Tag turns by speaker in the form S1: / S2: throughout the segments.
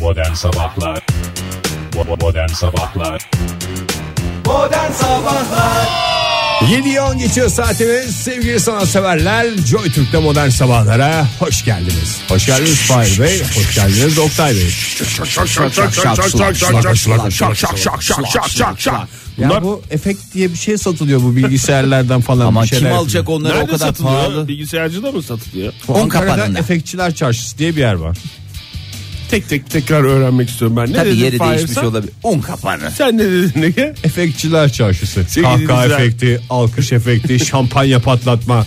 S1: Modern Sabahlar Bo- Modern Sabahlar
S2: Modern Sabahlar
S3: 7'ye 10 geçiyor saatimiz. Sevgili sanatseverler Joy Türk'te modern sabahlara hoş geldiniz. Hoş geldiniz Fahir Bey, hoş geldiniz Oktay Bey. Ya bu efekt diye bir şey satılıyor bu bilgisayarlardan falan.
S4: Ama
S3: bir şeyler
S4: kim alacak
S3: yapıyor.
S4: onları o
S5: Nerede
S4: kadar
S5: satılıyor?
S4: pahalı?
S5: Bilgisayarcıda mı satılıyor?
S3: Bu
S4: On
S3: Ankara'da
S4: kapanında.
S3: Efektçiler Çarşısı diye bir yer var.
S5: Tek tek tekrar öğrenmek istiyorum ben. Ne
S4: Tabii
S5: dedin
S4: yeri
S5: Fahir
S4: değişmiş
S5: sen?
S4: olabilir. Un kapanı.
S5: Sen ne dedin Ege?
S3: Efektçiler Çarşısı.
S5: Sevgili
S3: Kahkaha
S5: dinleyiciler.
S3: efekti, alkış efekti, şampanya patlatma.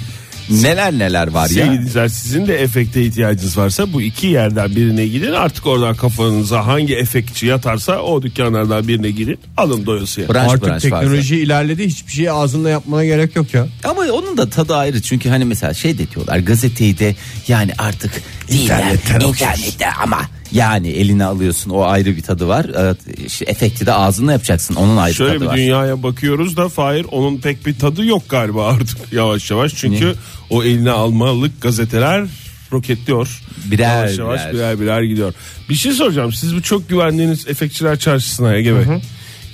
S4: Neler neler var ya.
S5: Sevgili dinleyiciler, sizin de efekte ihtiyacınız varsa bu iki yerden birine gidin. Artık oradan kafanıza hangi efektçi yatarsa o dükkanlardan birine gidin. Alın doyasıya.
S4: Branş
S3: Artık
S4: branş
S3: teknoloji ilerledi hiçbir şeyi ağzınla yapmana gerek yok ya.
S4: Ama onun da tadı ayrı çünkü hani mesela şey de diyorlar gazeteyi de yani artık değil ya,
S3: İnternetten
S4: internette ama yani eline alıyorsun o ayrı bir tadı var. Evet, işte efekti de ağzınla yapacaksın onun ayrı
S5: Şöyle
S4: tadı
S5: bir
S4: var.
S5: dünyaya bakıyoruz da Fahir onun pek bir tadı yok galiba artık yavaş yavaş. Çünkü o eline almalık gazeteler roketliyor.
S4: Birer
S5: yavaş yavaş
S4: birer.
S5: birer. birer gidiyor. Bir şey soracağım. Siz bu çok güvendiğiniz efektçiler çarşısına Ege Bey.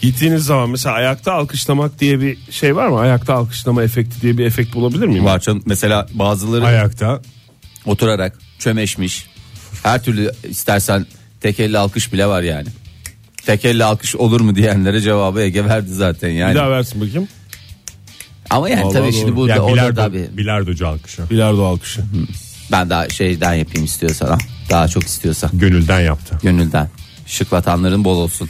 S5: Gittiğiniz zaman mesela ayakta alkışlamak diye bir şey var mı? Ayakta alkışlama efekti diye bir efekt bulabilir miyim?
S4: Var canım mesela bazıları
S3: Ayakta
S4: oturarak çömeşmiş. Her türlü istersen tek elle alkış bile var yani. Tek elle alkış olur mu diyenlere cevabı Ege verdi zaten yani.
S5: Bir daha versin bakayım.
S4: Ama yani
S5: Vallahi
S4: tabii
S5: doğru.
S4: şimdi burada
S3: ya
S4: orada da
S3: bilardo,
S4: bir
S3: bilardocu alkışı.
S5: Bilardo alkışı.
S4: ben daha şeyden yapayım istiyorsan ha. daha çok istiyorsan
S3: Gönülden yaptı.
S4: gönülden şıklatanların bol olsun.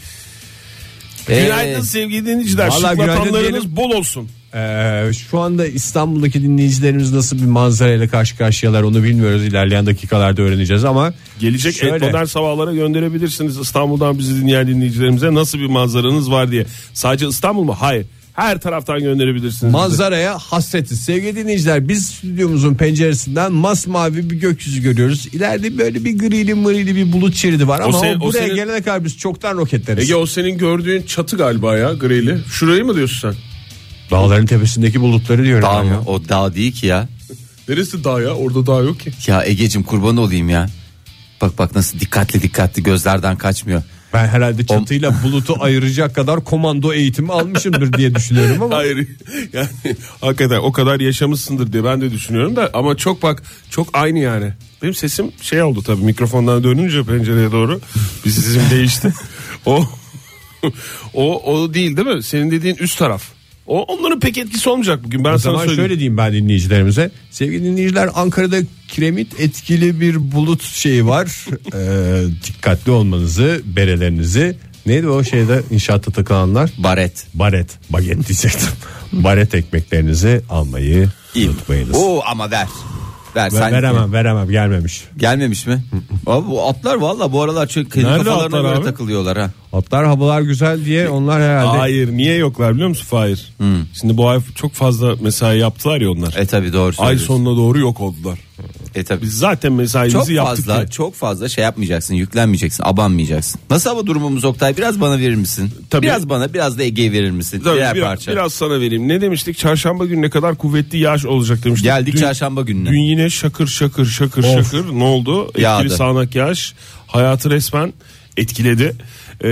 S4: Ee,
S5: Günaydın sevgili dinleyiciler.
S3: Vallahi günaydın
S5: Şıklatanlarınız
S3: diyelim.
S5: bol olsun.
S3: Ee, şu anda İstanbul'daki dinleyicilerimiz nasıl bir manzarayla karşı karşıyalar onu bilmiyoruz. İlerleyen dakikalarda öğreneceğiz ama
S5: Gelecek
S3: Şöyle.
S5: et modern sabahlara gönderebilirsiniz İstanbul'dan bizi dinleyen dinleyicilerimize nasıl bir manzaranız var diye. Sadece İstanbul mu? Hayır. Her taraftan gönderebilirsiniz.
S3: manzaraya hasretiz. Sevgili dinleyiciler biz stüdyomuzun penceresinden masmavi bir gökyüzü görüyoruz. İleride böyle bir grili mırili bir bulut şeridi var ama
S5: senin-
S3: o
S5: o
S3: buraya
S5: senin-
S3: gelene kadar biz çoktan roketleriz.
S5: Ege o senin gördüğün çatı galiba ya grili. Şurayı mı diyorsun sen?
S3: Dağların tepesindeki bulutları diyorum.
S4: dağ
S3: ben ya.
S4: mı? O dağ değil ki ya.
S5: Neresi dağ ya? Orada dağ yok ki.
S4: Ya Ege'cim kurban olayım ya. Bak bak nasıl dikkatli dikkatli gözlerden kaçmıyor.
S3: Ben herhalde çatıyla bulutu ayıracak kadar komando eğitimi almışımdır diye düşünüyorum ama.
S5: Hayır yani hakikaten o kadar yaşamışsındır diye ben de düşünüyorum da ama çok bak çok aynı yani. Benim sesim şey oldu tabii mikrofondan dönünce pencereye doğru bir sesim değişti. O o o değil değil mi? Senin dediğin üst taraf. O onların pek etkisi olmayacak bugün. Ben
S3: O
S5: sana
S3: zaman
S5: söyleyeyim.
S3: şöyle diyeyim ben dinleyicilerimize. Sevgili dinleyiciler Ankara'da kiremit etkili bir bulut şeyi var. Ee, dikkatli olmanızı, berelerinizi. Neydi o şeyde inşaatta takılanlar?
S4: Baret.
S3: Baret, baget diyecektim. Baret ekmeklerinizi almayı unutmayınız.
S4: Oo ama ver. Ver
S3: Ve
S4: sen.
S3: veremem, veremem gelmemiş.
S4: Gelmemiş mi? Abi bu atlar valla bu aralar çok kendi
S5: Nerede
S4: kafalarına
S5: atlar
S4: göre
S5: abi?
S4: takılıyorlar ha.
S3: Atlar havalar güzel diye onlar herhalde.
S5: Hayır niye yoklar biliyor musun Fahir? Şimdi bu ay çok fazla mesai yaptılar ya onlar.
S4: E tabi doğru
S5: ay
S4: söylüyorsun.
S5: sonuna doğru yok oldular.
S4: E tabi.
S5: Biz zaten mesaimizi
S4: Çok
S5: yaptık.
S4: fazla
S5: ya.
S4: çok fazla şey yapmayacaksın yüklenmeyeceksin abanmayacaksın. Nasıl hava durumumuz Oktay biraz bana verir misin?
S5: Tabii.
S4: Biraz bana biraz da Ege'ye verir misin?
S5: Tabii,
S4: Birer
S5: biraz,
S4: parça.
S5: biraz sana vereyim. Ne demiştik? Çarşamba günü ne kadar kuvvetli yağış olacak demiştik.
S4: Geldik
S5: Dün-
S4: çarşamba gününe.
S5: Dün yine şakır şakır şakır
S3: Of.
S5: şakır ne oldu?
S4: Yağdı.
S5: Etkili sağanak yağış hayatı resmen etkiledi. Ee,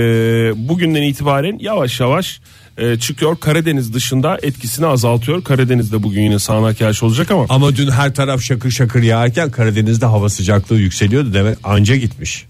S5: bugünden itibaren yavaş yavaş e, çıkıyor. Karadeniz dışında etkisini azaltıyor. Karadeniz'de bugün yine sağanak yağış olacak ama
S3: Ama dün her taraf şakır şakır yağarken Karadeniz'de hava sıcaklığı yükseliyordu. Demek anca gitmiş.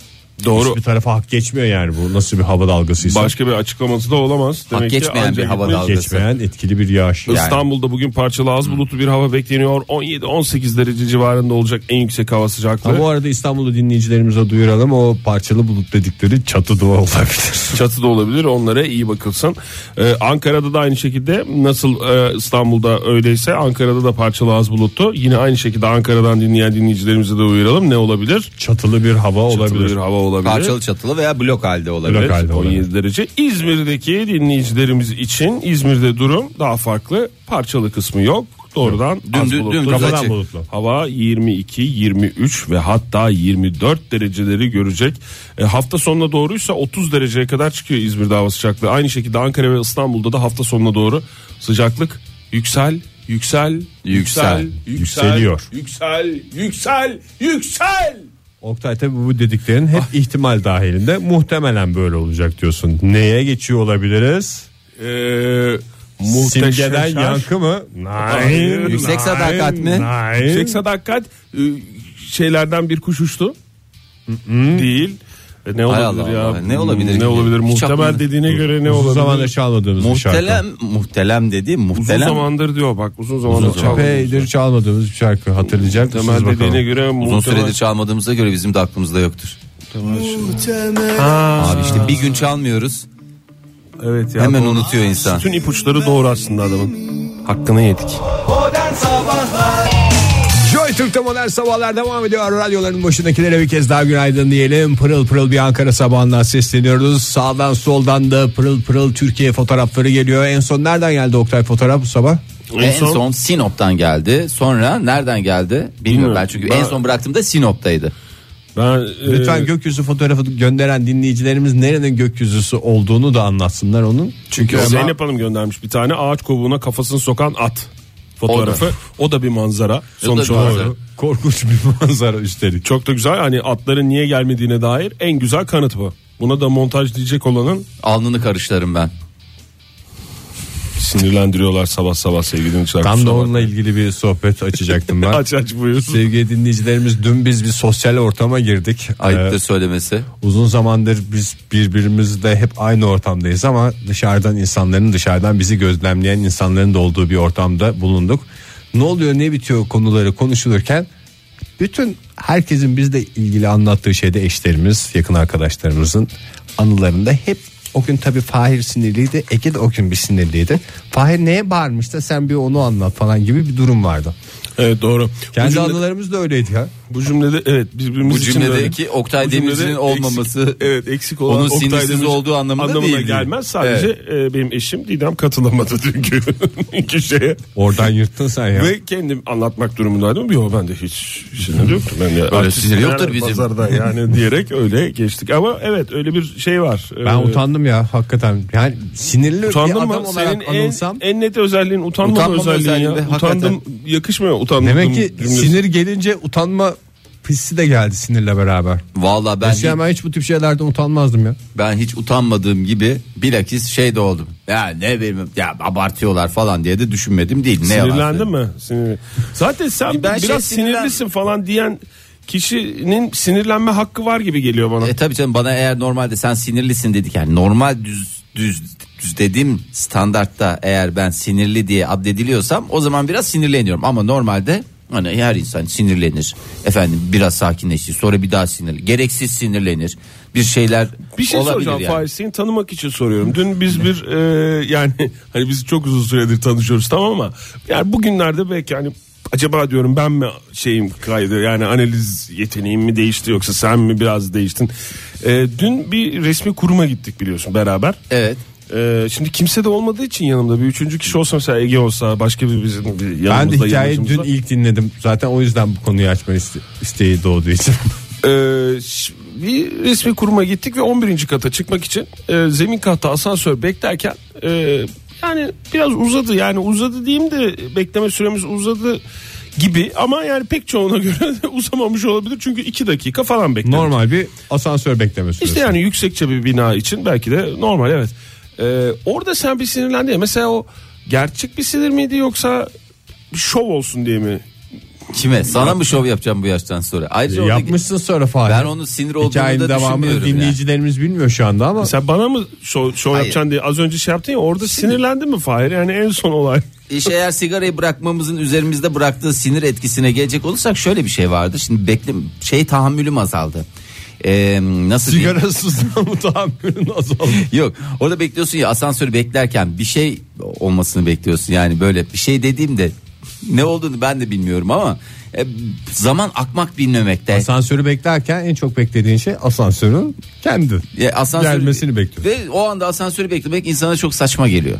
S5: Doğru.
S3: Hiçbir tarafa hak geçmiyor yani bu nasıl bir hava dalgasıysa.
S5: başka bir açıklaması da olamaz.
S4: Hak
S5: Demek ki
S4: geçmeyen
S5: anca
S4: bir hava
S5: gitmiş.
S4: dalgası.
S3: Geçmeyen etkili bir yağış.
S4: Yani.
S5: İstanbul'da bugün parçalı az bulutlu bir hava bekleniyor. 17-18 derece civarında olacak en yüksek hava sıcaklığı.
S3: Ha, bu arada İstanbul'da dinleyicilerimize duyuralım o parçalı bulut dedikleri çatı duvar olabilir.
S5: Çatıda olabilir onlara iyi bakılsın. Ee, Ankara'da da aynı şekilde nasıl e, İstanbul'da öyleyse Ankara'da da parçalı az bulutlu. Yine aynı şekilde Ankara'dan dinleyen dinleyicilerimize de uyaralım ne olabilir?
S3: Çatılı bir hava olabilir.
S5: Çatılı bir hava olabilir.
S4: Parçalı çatılı veya blok halde olabilir.
S3: Blok halde.
S5: Evet, 17 derece. İzmir'deki dinleyicilerimiz için İzmir'de durum daha farklı. Parçalı kısmı yok. Doğrudan
S4: Dün-
S5: az
S4: dün-
S5: bulutlu.
S4: dün
S3: Kafadan
S4: Açık.
S3: bulutlu.
S5: Hava 22, 23 ve hatta 24 dereceleri görecek. E, hafta sonuna doğruysa 30 dereceye kadar çıkıyor İzmir'de hava sıcaklığı. Aynı şekilde Ankara ve İstanbul'da da hafta sonuna doğru sıcaklık yüksel, yüksel,
S4: Yüksel.
S5: yüksel, yüksel
S3: Yükseliyor.
S5: Yüksel, yüksel, yüksel.
S3: Oktay tabi bu dediklerin hep ihtimal dahilinde muhtemelen böyle olacak diyorsun. Neye geçiyor olabiliriz?
S5: Ee, muhteşem
S3: Simgeden
S5: şarj.
S3: yankı mı?
S5: Hayır.
S4: Yüksek
S3: nein,
S4: sadakat mi?
S3: nein.
S5: Yüksek sadakat e, şeylerden bir kuş uçtu. Değil. E, Ne
S4: Hay
S5: olabilir
S4: Allah
S5: ya?
S4: Allah, ne olabilir
S5: Ne
S4: ki?
S5: olabilir?
S4: Hiç
S5: Muhtemel
S4: aklımda-
S5: dediğine göre ne
S3: Uzun
S5: olabilir?
S3: zamandır çalmadığımız bir şarkı.
S4: Muhtelem, muhtelem dedi.
S5: Uzun
S4: Muhtelem.
S5: zamandır diyor bak uzun zamandır
S4: Uzun
S5: çaldı.
S3: Epeydir çalmadığımız bir şarkı hatırlayacak mısınız
S5: Temel dediğine
S3: bakalım?
S5: göre
S4: Uzun
S5: muhtemel-
S4: süredir çalmadığımıza göre bizim de aklımızda yoktur. Abi işte bir gün çalmıyoruz.
S5: Evet ya.
S4: Hemen
S5: bu-
S4: unutuyor insan.
S5: Bütün ipuçları doğru aslında adamın. Hakkını yedik.
S2: Modern Sabahlar
S3: Joy Türk'te modern sabahlar devam ediyor. Radyoların başındakilere bir kez daha günaydın diyelim. Pırıl pırıl bir Ankara sabahından sesleniyoruz. Sağdan soldan da pırıl pırıl Türkiye fotoğrafları geliyor. En son nereden geldi Oktay fotoğraf bu sabah?
S4: En son, Sinop'tan geldi. Sonra nereden geldi bilmiyorum,
S5: Bilmiyorum.
S4: ben çünkü
S5: Ben-
S4: en son bıraktığımda Sinop'taydı.
S5: Ben
S3: Lütfen
S5: e,
S3: gökyüzü fotoğrafı gönderen dinleyicilerimiz nerenin gökyüzüsü olduğunu da anlatsınlar onun. Çünkü
S5: Ya Zeynep Hanım göndermiş bir tane ağaç kovuğuna kafasını sokan at fotoğrafı. O da, bir manzara sonuç
S4: bir
S5: olarak.
S4: manzara.
S3: korkunç bir manzara üstelik.
S5: Çok da güzel hani atların niye gelmediğine dair en güzel kanıt bu. Buna da montaj diyecek olanın
S4: Alnını karışlarım ben.
S5: sinirlendiriyorlar sabah sabah sevgili dinleyiciler.
S3: Tam da
S5: Kusura
S3: onunla ilgili bir sohbet açacaktım
S5: bakmayın.
S3: ben.
S5: Aç aç buyursun.
S3: Sevgili dinleyicilerimiz dün biz bir sosyal ortama girdik.
S4: Ayıptır
S3: Ee,
S4: söylemesi.
S3: uzun zamandır biz birbirimizle hep aynı ortamdayız ama dışarıdan insanların dışarıdan bizi gözlemleyen insanların da olduğu bir ortamda bulunduk. Ne oluyor ne bitiyor konuları konuşulurken bütün herkesin bizle ilgili anlattığı şeyde eşlerimiz, yakın arkadaşlarımızın anılarında hep o gün tabii Fahir sinirliydi. Ege de o gün bir sinirliydi. Fahir neye bağırmış da sen bir onu anlat falan gibi bir durum vardı.
S5: Evet doğru.
S3: Kendi
S5: bu, cümle-
S3: anılarımız da öyleydi ya.
S5: bu cümlede evet birbirimiz
S4: Bu
S5: için
S4: cümledeki
S5: böyle-
S4: Oktay
S5: Bu cümlede
S4: Demirci'nin
S5: eksik-
S4: olmaması-
S5: evet eksik olan
S4: Onun
S5: Oktay
S4: sinirsiz
S5: Demirci
S4: olduğu anlamına değil.
S5: gelmez. Sadece e, benim eşim Didem katılamadı çünkü iki şeye.
S3: Oradan yırttın sen ya.
S5: Ve kendim anlatmak durumundaydım. Yok ben de hiç sinir yoktu. Ben de
S4: Öyle sinir yoktur
S5: Yani
S4: bizim.
S5: Pazarda yani diyerek öyle geçtik. Ama evet öyle bir şey var.
S3: Ben
S5: Ee,
S3: utandım ya hakikaten. Yani sinirli bir
S5: Utandım
S3: adam
S5: mı?
S3: olarak
S5: Senin en,
S3: anılsam.
S5: en net özelliğin utanma,
S4: Utanmama
S5: özelliğin ya.
S4: özelliğinde,
S5: Utandım yakışmıyor utandım.
S3: Demek ki
S5: cümlesi.
S3: sinir gelince utanma hissi de geldi sinirle beraber.
S4: Valla ben,
S3: Eskiden ben hiç bu tip şeylerden utanmazdım ya.
S4: ben hiç utanmadığım gibi bilakis şey de oldum. Ya ne bileyim ya abartıyorlar falan diye de düşünmedim değil. Ne yalan
S5: Sinirlendin
S4: söyleyeyim.
S5: mi? Sinirli. Zaten sen
S4: Ben şey
S5: biraz
S4: sinirlen-
S5: sinirlisin falan diyen kişinin sinirlenme hakkı var gibi geliyor bana.
S4: E tabii canım bana eğer normalde sen sinirlisin dedik yani normal düz düz düz dediğim standartta eğer ben sinirli diye addediliyorsam o zaman biraz sinirleniyorum ama normalde hani her insan sinirlenir. Efendim biraz sakinleşir sonra bir daha sinirlenir. Gereksiz sinirlenir. Bir şeyler
S5: Bir şey
S4: olabilir
S5: soracağım
S4: yani.
S5: Fahir seni tanımak için soruyorum. Dün biz bir e, yani hani biz çok uzun süredir tanışıyoruz tamam ama yani bugünlerde belki hani acaba diyorum ben mi şeyim kaydı yani analiz yeteneğim mi değişti yoksa sen mi biraz değiştin. E, dün bir resmi kuruma gittik biliyorsun beraber.
S4: Evet.
S5: E, şimdi kimse de olmadığı için yanımda bir üçüncü kişi olsa mesela Ege olsa başka bir bizim bir yanımızda
S3: Ben de hikayeyi dün
S5: yanımızda.
S3: ilk dinledim. Zaten o yüzden bu konuyu açma iste- isteği doğduğu için.
S5: Ee, ş- bir resmi kuruma gittik ve 11. kata çıkmak için e, zemin katta asansör beklerken e, yani biraz uzadı yani uzadı diyeyim de bekleme süremiz uzadı gibi ama yani pek çoğuna göre de uzamamış olabilir çünkü 2 dakika falan bekledik.
S3: Normal bir asansör bekleme süresi.
S5: İşte yani yüksekçe bir bina için belki de normal evet. Ee, orada sen bir sinirlendin ya mesela o gerçek bir sinir miydi yoksa şov olsun diye mi?
S4: Kime? Sana mı şov yapacağım bu yaştan sonra? Ayrıca oradaki-
S3: E, Yapmışsın sonra Fahri.
S4: Ben onun sinir olduğunu
S3: Hikayenin
S4: da
S3: devamını
S4: düşünmüyorum
S3: dinleyicilerimiz bilmiyor şu anda ama
S5: Sen bana mı şov, şov
S4: Hayır.
S5: yapacaksın diye az önce şey yaptın ya orada sinirlendin mi Fahir? Yani en son olay.
S4: İş eğer sigarayı bırakmamızın üzerimizde bıraktığı sinir etkisine gelecek olursak şöyle bir şey vardı. Şimdi bekle şey tahammülüm azaldı. Ee, nasıl diyeyim?
S3: sigarasızdan mı tahammülün azaldı?
S4: Yok orada bekliyorsun ya asansörü beklerken bir şey olmasını bekliyorsun yani böyle bir şey dediğimde ne olduğunu ben de bilmiyorum ama e, zaman akmak bilmemekte.
S3: Asansörü beklerken en çok beklediğin şey asansörün kendi.
S4: Ya asansör-
S3: Gelmesini bekliyorsun.
S4: Ve o anda asansörü beklemek insana çok saçma geliyor.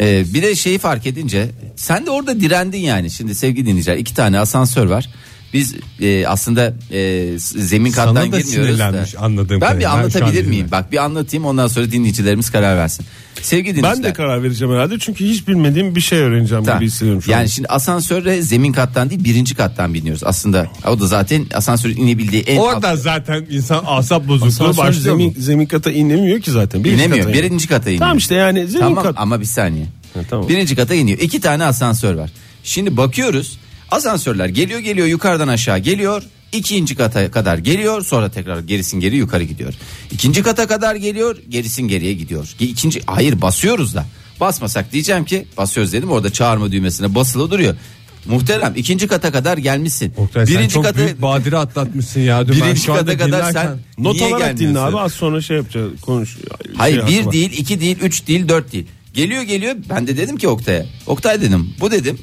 S4: Ee, bir de şeyi fark edince sen de orada direndin yani. Şimdi sevgili dinleyiciler iki tane asansör var. Biz e, aslında e, s- zemin kattan
S3: Sana da
S4: girmiyoruz
S3: sinirlenmiş
S4: Ben
S3: anladığım kadarıyla.
S4: bir
S3: Ben şu an
S4: anlatabilir miyim?
S3: dinliyorum.
S4: Bak bir anlatayım ondan sonra dinleyicilerimiz karar versin. Sevgili
S5: Ben
S4: dinleyiciler.
S5: de karar vereceğim herhalde çünkü hiç bilmediğim bir şey öğreneceğim
S4: Tamam.
S5: gibi hissediyorum şu an.
S4: Yani şimdi asansörle zemin kattan değil birinci kattan biniyoruz. Aslında o da zaten asansörün inebildiği en alt
S3: Orada zaten insan asap bozukluğu
S5: Asansör
S3: başlıyor
S5: zemin,
S3: mu?
S5: zemin kata inemiyor ki zaten. Birinci
S4: inemiyor.
S5: kata iniyor.
S4: Birinci kata iniyor.
S5: Tamam işte yani zemin
S4: Tamam
S5: kat.
S4: ama bir saniye.
S5: Ha, tamam.
S4: Birinci kata iniyor. İki tane asansör var. Şimdi bakıyoruz asansörler geliyor geliyor yukarıdan aşağı geliyor. İkinci kata kadar geliyor sonra tekrar gerisin geri yukarı gidiyor. İkinci kata kadar geliyor gerisin geriye gidiyor. Ge- İkinci hayır basıyoruz da basmasak diyeceğim ki basıyoruz dedim orada çağırma düğmesine basılı duruyor. Muhterem ikinci kata kadar gelmişsin.
S3: Oktay sen çok büyük badire atlatmışsın ya. Dün ben
S4: Birinci
S3: şu anda
S4: kata kadar
S3: dinlerken-
S4: sen-
S5: Not
S4: Niye
S5: olarak dinle
S4: gelmiyorsun?
S5: abi az sonra şey yapacağız konuş. şey
S4: Hayır bir
S5: yapma.
S4: değil iki değil üç değil dört değil. Geliyor geliyor ben de dedim ki Oktay'a. Oktay dedim bu dedim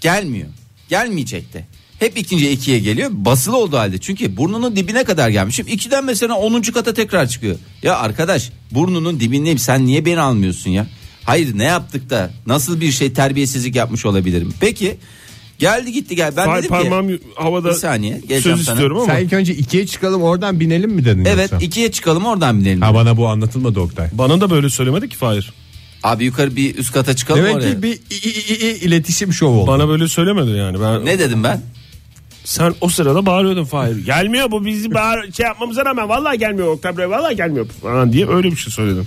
S4: gelmiyor. Gelmeyecek de. Hep ikinci ikiye geliyor basılı oldu halde. Çünkü burnunun dibine kadar gelmişim. İkiden mesela onuncu kata tekrar çıkıyor. Ya arkadaş burnunun dibindeyim sen niye beni almıyorsun ya? Hayır ne yaptık da nasıl bir şey terbiyesizlik yapmış olabilirim. Peki geldi gitti gel. Ben
S5: Par-
S4: dedim ki
S5: parmağım havada
S4: Bir saniye, geleceğim
S5: söz
S4: sana.
S5: istiyorum ama.
S3: Sen ilk önce ikiye çıkalım oradan binelim mi dedin
S4: evet
S3: yoksa?
S4: ikiye çıkalım oradan binelim.
S3: Ha bana bu anlatılmadı Oktay.
S5: Bana da böyle söylemedi ki Fahir.
S4: Abi yukarı bir üst kata çıkalım
S3: Demek
S4: oraya.
S3: ki bir i- i- i- i- iletişim şovu oldu.
S5: Bana böyle söylemedi yani. Ben
S4: Ne dedim ben?
S5: sen o sırada bağırıyordun Fahir. gelmiyor bu bizi bağır şey yapmamıza rağmen vallahi gelmiyor Oktay Bey vallahi gelmiyor falan diye öyle bir şey söyledim.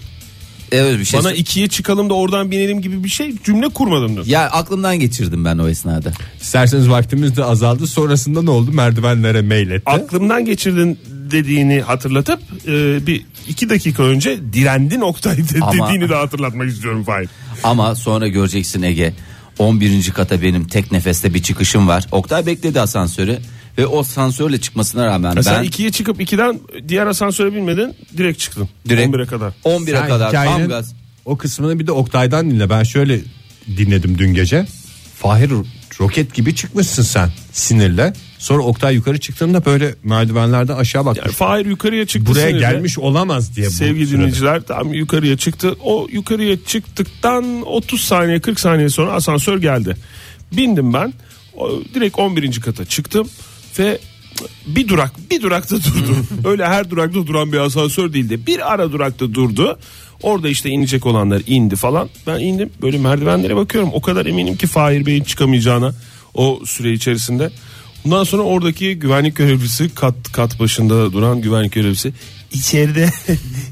S4: Evet bir şey
S5: Bana ikiye çıkalım da oradan binelim gibi bir şey cümle kurmadım diyor.
S4: Ya aklımdan geçirdim ben o esnada.
S3: İsterseniz vaktimiz de azaldı. Sonrasında ne oldu? Merdivenlere mail etti.
S5: Aklımdan geçirdin dediğini hatırlatıp e, bir iki dakika önce direndin Oktay de-
S4: Ama-
S5: dediğini de hatırlatmak istiyorum Fahir.
S4: Ama sonra göreceksin Ege. 11. kata benim tek nefeste bir çıkışım var. Oktay bekledi asansörü ve o asansörle çıkmasına rağmen
S5: Ya Sen
S4: ben
S5: ikiye çıkıp ikiden diğer asansöre binmedin direkt çıktın.
S4: direkt
S5: 11'e kadar.
S4: 11'e
S3: Sen
S4: kadar
S3: hikayenin
S4: tam gaz.
S3: O kısmını bir de Oktay'dan dinle. Ben şöyle dinledim dün gece. Fahir roket gibi çıkmışsın sen sinirle. Sonra Oktay yukarı çıktığında böyle merdivenlerde aşağı bakmış.
S5: Yani Fahir yukarıya çıktı.
S3: Buraya
S5: sinirle.
S3: gelmiş olamaz diye. bu
S5: Sevgili
S3: sırada.
S5: dinleyiciler tam yukarıya çıktı. O yukarıya çıktıktan 30 saniye 40 saniye sonra asansör geldi. Bindim ben. O, direkt 11. kata çıktım ve bir durak bir durakta durdum. Öyle her durakta duran bir asansör değildi. Bir ara durakta durdu. Orada işte inecek olanlar indi falan. Ben indim böyle merdivenlere bakıyorum. O kadar eminim ki Fahir Bey'in çıkamayacağına o süre içerisinde. Bundan sonra oradaki güvenlik görevlisi kat kat başında duran güvenlik görevlisi içeride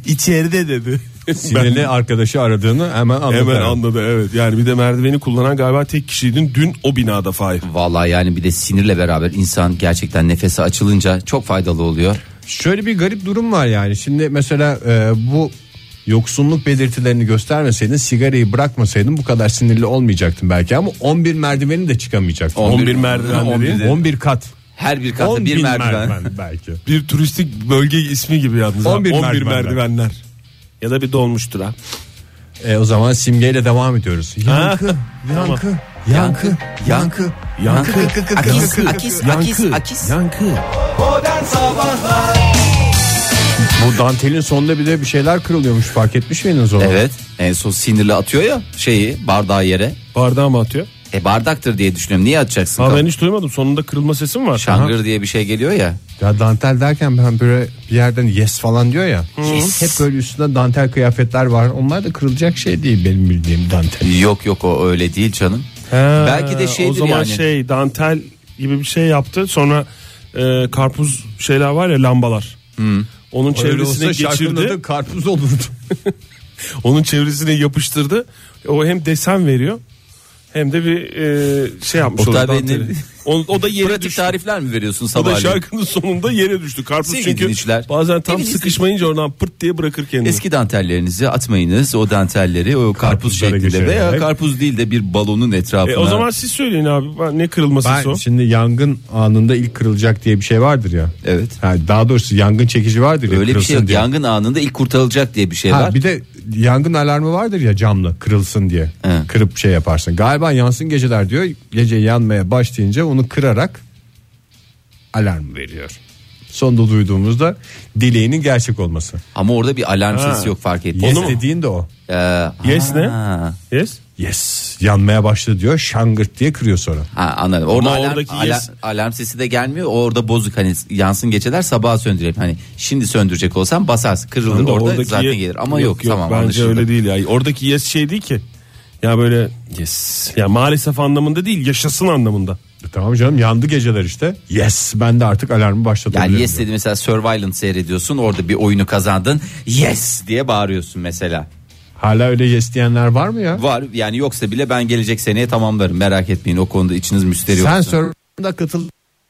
S5: içeride dedi.
S3: Sinirli arkadaşı aradığını hemen anladı.
S5: Hemen
S3: herhalde.
S5: anladı evet. Yani bir de merdiveni kullanan galiba tek kişiydin dün o binada Fahir.
S4: Vallahi yani bir de sinirle beraber insan gerçekten nefesi açılınca çok faydalı oluyor.
S3: Şöyle bir garip durum var yani. Şimdi mesela e, bu yoksunluk belirtilerini göstermeseydin sigarayı bırakmasaydın bu kadar sinirli olmayacaktın belki ama 11 merdiveni de çıkamayacaktın.
S5: 11 merdiven
S4: 11
S5: dediğin.
S3: 11 kat.
S4: Her bir katta bir
S3: 10.000
S4: merdiven.
S3: belki.
S5: Bir turistik bölge ismi gibi yalnız.
S3: 11
S5: 11,
S3: merdivenler.
S5: merdivenler. Ya da bir dolmuştur ha.
S3: E, o zaman simgeyle devam ediyoruz. Yankı, yankı, yankı, yankı, yankı,
S4: Akis, akis, akis, akis.
S3: yankı.
S2: Modern Sabahlar
S3: Bu dantelin sonunda bir de bir şeyler kırılıyormuş fark etmiş miydiniz onu?
S4: Evet en son sinirle atıyor ya şeyi bardağı yere.
S5: Bardağı mı atıyor?
S4: E bardaktır diye düşünüyorum. Niye atacaksın?
S5: Ha
S4: kafana?
S5: ben hiç duymadım. Sonunda kırılma sesi mi var?
S4: Şangır diye bir şey geliyor ya.
S3: Ya dantel derken ben böyle bir yerden yes falan diyor ya. Hep böyle üstünde dantel kıyafetler var. Onlar da kırılacak şey değil benim bildiğim dantel.
S4: Yok yok o öyle değil canım.
S5: Ha,
S4: Belki de şeydir
S5: O zaman
S4: yani.
S5: şey dantel gibi bir şey yaptı. Sonra e, karpuz şeyler var ya lambalar. Onun çevresine geçirdi.
S3: karpuz olurdu.
S5: Onun çevresine yapıştırdı. O hem desen veriyor hem de bir e, şey yapmış
S4: Oktay
S5: oldu
S4: Bey
S5: danteli.
S4: ne-
S5: O, o da yere
S4: Pratik
S5: düştü.
S4: tarifler mi veriyorsun
S5: O da
S4: sabahleyin?
S5: şarkının sonunda yere düştü. Karpuz
S4: Sevgili
S5: çünkü
S4: dinleyiciler,
S5: bazen tam
S4: sevgili
S5: sıkışmayınca oradan pırt diye bırakır kendini.
S4: Eski dantellerinizi atmayınız. O dantelleri o karpuz
S3: Karpuzlara
S4: şeklinde
S3: geçirerek.
S4: veya karpuz değil de bir balonun etrafına.
S5: E, o zaman siz söyleyin abi ben- ne kırılması
S3: Ben
S4: şey-
S5: o?
S3: şimdi yangın anında ilk kırılacak diye bir şey vardır ya.
S4: Evet.
S3: Ha, daha doğrusu yangın çekici vardır ya.
S4: Öyle bir şey
S3: kırılsın
S4: yok.
S3: diye.
S4: Yangın anında ilk kurtarılacak diye bir şey
S3: Ha,
S4: var.
S3: bir de yangın alarmı vardır ya camlı kırılsın diye.
S4: He.
S3: Kırıp şey yaparsın. Galiba yansın geceler diyor. Gece yanmaya başlayınca onu kırarak alarm veriyor. Sonunda duyduğumuzda dileğinin gerçek olması.
S4: Ama orada bir alarm sesi yok fark ettim.
S3: Yes dediğin de o.
S5: Yes ne?
S4: Ha.
S5: Yes.
S3: Yes yanmaya başladı diyor şangırt diye kırıyor sonra.
S4: Ha, anladım. Orada
S5: Ama
S4: alarm,
S5: oradaki
S4: ala-
S5: yes-
S4: alarm sesi de gelmiyor. Orada bozuk hani yansın geçeler sabaha söndürelim. Hani şimdi söndürecek olsam basarsın kırılır orada
S5: Oradaki
S4: zaten
S5: ye-
S4: gelir. Ama yok, tamam
S5: bence
S4: anlaşıldı.
S5: öyle değil ya. Oradaki yes şey değil ki. Ya böyle yes. Ya maalesef anlamında değil, yaşasın anlamında.
S3: E, Tamam canım yandı geceler işte. Yes ben de artık alarmı başlatabilirim.
S4: Yani yes dedi mesela Survivalent seyrediyorsun orada bir oyunu kazandın yes diye bağırıyorsun mesela.
S3: Hala öyle yes diyenler var mı ya?
S4: Var yani yoksa bile ben gelecek seneye tamamlarım merak etmeyin o konuda içiniz müsteri
S3: Sen
S4: olsun.
S3: Survivor'da katıl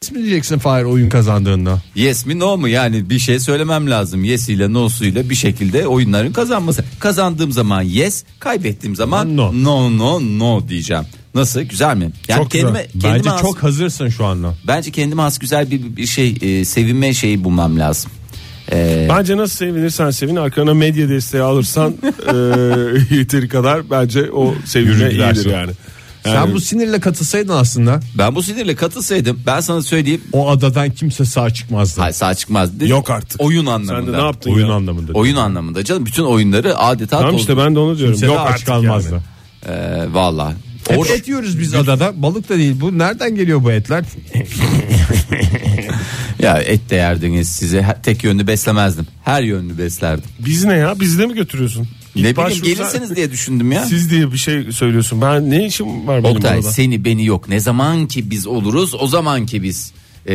S3: Yes mi diyeceksin Fahir oyun kazandığında?
S4: Yes mi no mu yani bir şey söylemem lazım yes ile no'suyla bir şekilde oyunların kazanması. Kazandığım zaman yes kaybettiğim zaman
S3: No.
S4: no no, no diyeceğim. Nasıl güzel mi? Yani
S3: çok güzel.
S4: kendime, kendime
S3: Bence
S4: has-
S3: çok hazırsın şu anda.
S4: bence kendime has güzel bir, bir şey e, sevinme şeyi bulmam lazım.
S5: Bence nasıl sevinirsen sevin arkana medya desteği alırsan eee yeteri kadar bence o sevinme
S3: Yürü gidersin.
S5: iyidir yani.
S3: Sen bu sinirle katılsaydın aslında
S4: Ben bu sinirle katılsaydım ben sana söyleyeyim
S3: o adadan kimse sağ çıkmazdı.
S4: hayır sağ çıkmaz.
S5: Yok artık.
S4: Oyun
S5: sen
S4: anlamında.
S5: de ne yaptın
S3: Oyun
S5: ya?
S3: anlamında.
S4: Oyun anlamında canım bütün oyunları adeta
S5: Tamam
S4: tozdu.
S5: işte ben de onu diyorum.
S3: Kimse
S5: Yok
S3: de aç
S5: artık
S3: kalmazdı.
S5: yani.
S4: Ee, valla.
S3: Hep
S4: Or-
S3: et yiyoruz biz adada. Balık da değil. Bu nereden geliyor bu etler?
S4: ya et de yerdiniz size Her- tek yönlü beslemezdim. Her yönlü beslerdim.
S5: Biz ne ya? Bizi de mi götürüyorsun? İlk
S4: ne bileyim
S5: başvursa-
S4: gelirsiniz diye düşündüm ya.
S5: Siz diye bir şey söylüyorsun. Ben ne işim var benim
S4: Oktay
S5: burada?
S4: seni beni yok. Ne zaman ki biz oluruz o zaman ki biz ee,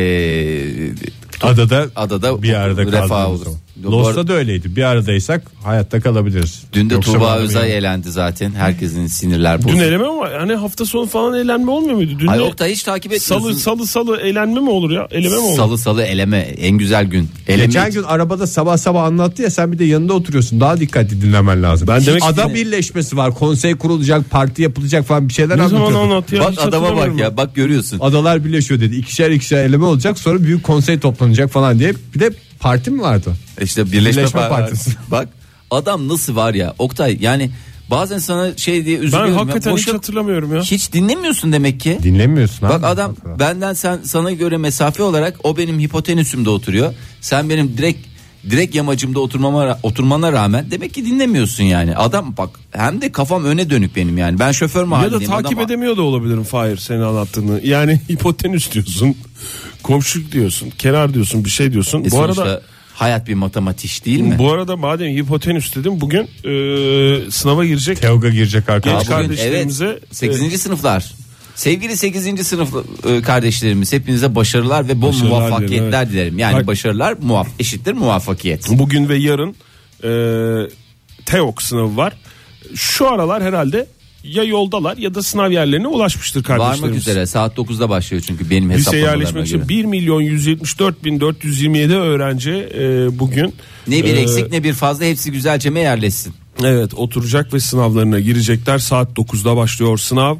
S3: Adada
S4: adada
S3: bir arada
S4: refah
S3: kaldığımız
S4: olur.
S3: zaman.
S4: Bu arada-
S3: Lost'ta da öyleydi. Bir aradaysak hayatta kalabiliriz.
S4: dün de
S3: Yoksa
S4: Tuğba
S3: bana
S4: Özay
S3: bir-
S4: elendi zaten. Herkesin sinirler
S5: Dün
S4: bozuldu.
S5: eleme mi var? Hani hafta sonu falan eğlenme olmuyor muydu? Dün
S4: Ay
S5: ne-
S4: Oktay hiç takip etmiyorsun.
S5: salı salı salı eğlenme mi olur ya? Eleme mi olur?
S4: salı salı eleme en güzel gün. Eleme
S3: Geçen gün arabada sabah sabah anlattı ya sen bir de yanında oturuyorsun. Daha dikkatli dinlemen lazım. Ben
S5: demek
S3: Ada
S4: ki-
S3: birleşmesi var. Konsey kurulacak, parti yapılacak falan bir şeyler
S5: Ne zaman
S3: anlatıyordu.
S5: anlat ya?
S4: Bak
S5: Hiç
S4: adama
S5: hatırlamıyorum
S4: bak ya bak görüyorsun.
S3: Adalar birleşiyor dedi. İkişer ikişer eleme olacak. Sonra büyük konsey toplanacak falan diye. Bir de parti mi vardı?
S4: İşte Birleşme,
S3: Birleşme
S4: Par-
S3: Partisi.
S4: Bak adam nasıl var ya Oktay yani bazen sana şey diye
S5: Ben
S4: üzülüyorum. ya.
S5: hakikaten hiç
S4: Boşa-
S5: hatırlamıyorum ya.
S4: Hiç dinlemiyorsun demek ki.
S3: Dinlemiyorsun
S4: Bak adam benden sen sana göre mesafe olarak o benim hipotenüsümde oturuyor. Sen benim direkt direkt yamacımda oturmama ra- oturmana rağmen demek ki dinlemiyorsun yani. Adam bak hem de kafam öne dönük benim yani. Ben şoför
S5: Ya da
S4: mahalleliyim.
S5: takip
S4: adam-
S5: edemiyor da olabilirim Fahir senin anlattığını. Yani hipotenüs diyorsun. Komşu diyorsun. Kenar diyorsun. Bir şey diyorsun.
S4: E
S5: bu
S4: sonuçta
S5: arada
S4: hayat bir matematiş değil mi?
S5: bu arada madem hipotenüs dedim bugün e, sınava girecek.
S3: Teoga girecek
S4: Aa,
S3: arkadaş.
S5: Genç kardeşlerimize,
S4: evet, 8. sınıflar. Sevgili 8. sınıf e, kardeşlerimiz hepinize başarılar ve bol
S5: Başarılar
S4: muvaffakiyetler
S5: dilerim, evet.
S4: dilerim. Yani
S5: Bak-
S4: başarılar muvaff eşittir muvaffakiyet.
S5: Bugün ve yarın e, TEOK sınavı var. Şu aralar herhalde ya yoldalar ya da sınav yerlerine ulaşmıştır kardeşlerimiz.
S4: Varmak üzere saat 9'da başlıyor çünkü benim
S5: Lise
S4: hesaplamalarıma
S5: yerleşmek
S4: göre.
S5: için 1 milyon 174 bin 427 öğrenci e, bugün
S4: Ne bir
S3: Ee,
S5: e,
S4: eksik ne bir fazla hepsi güzelceme yerleşsin.
S5: Evet oturacak ve sınavlarına girecekler. Saat 9'da başlıyor sınav.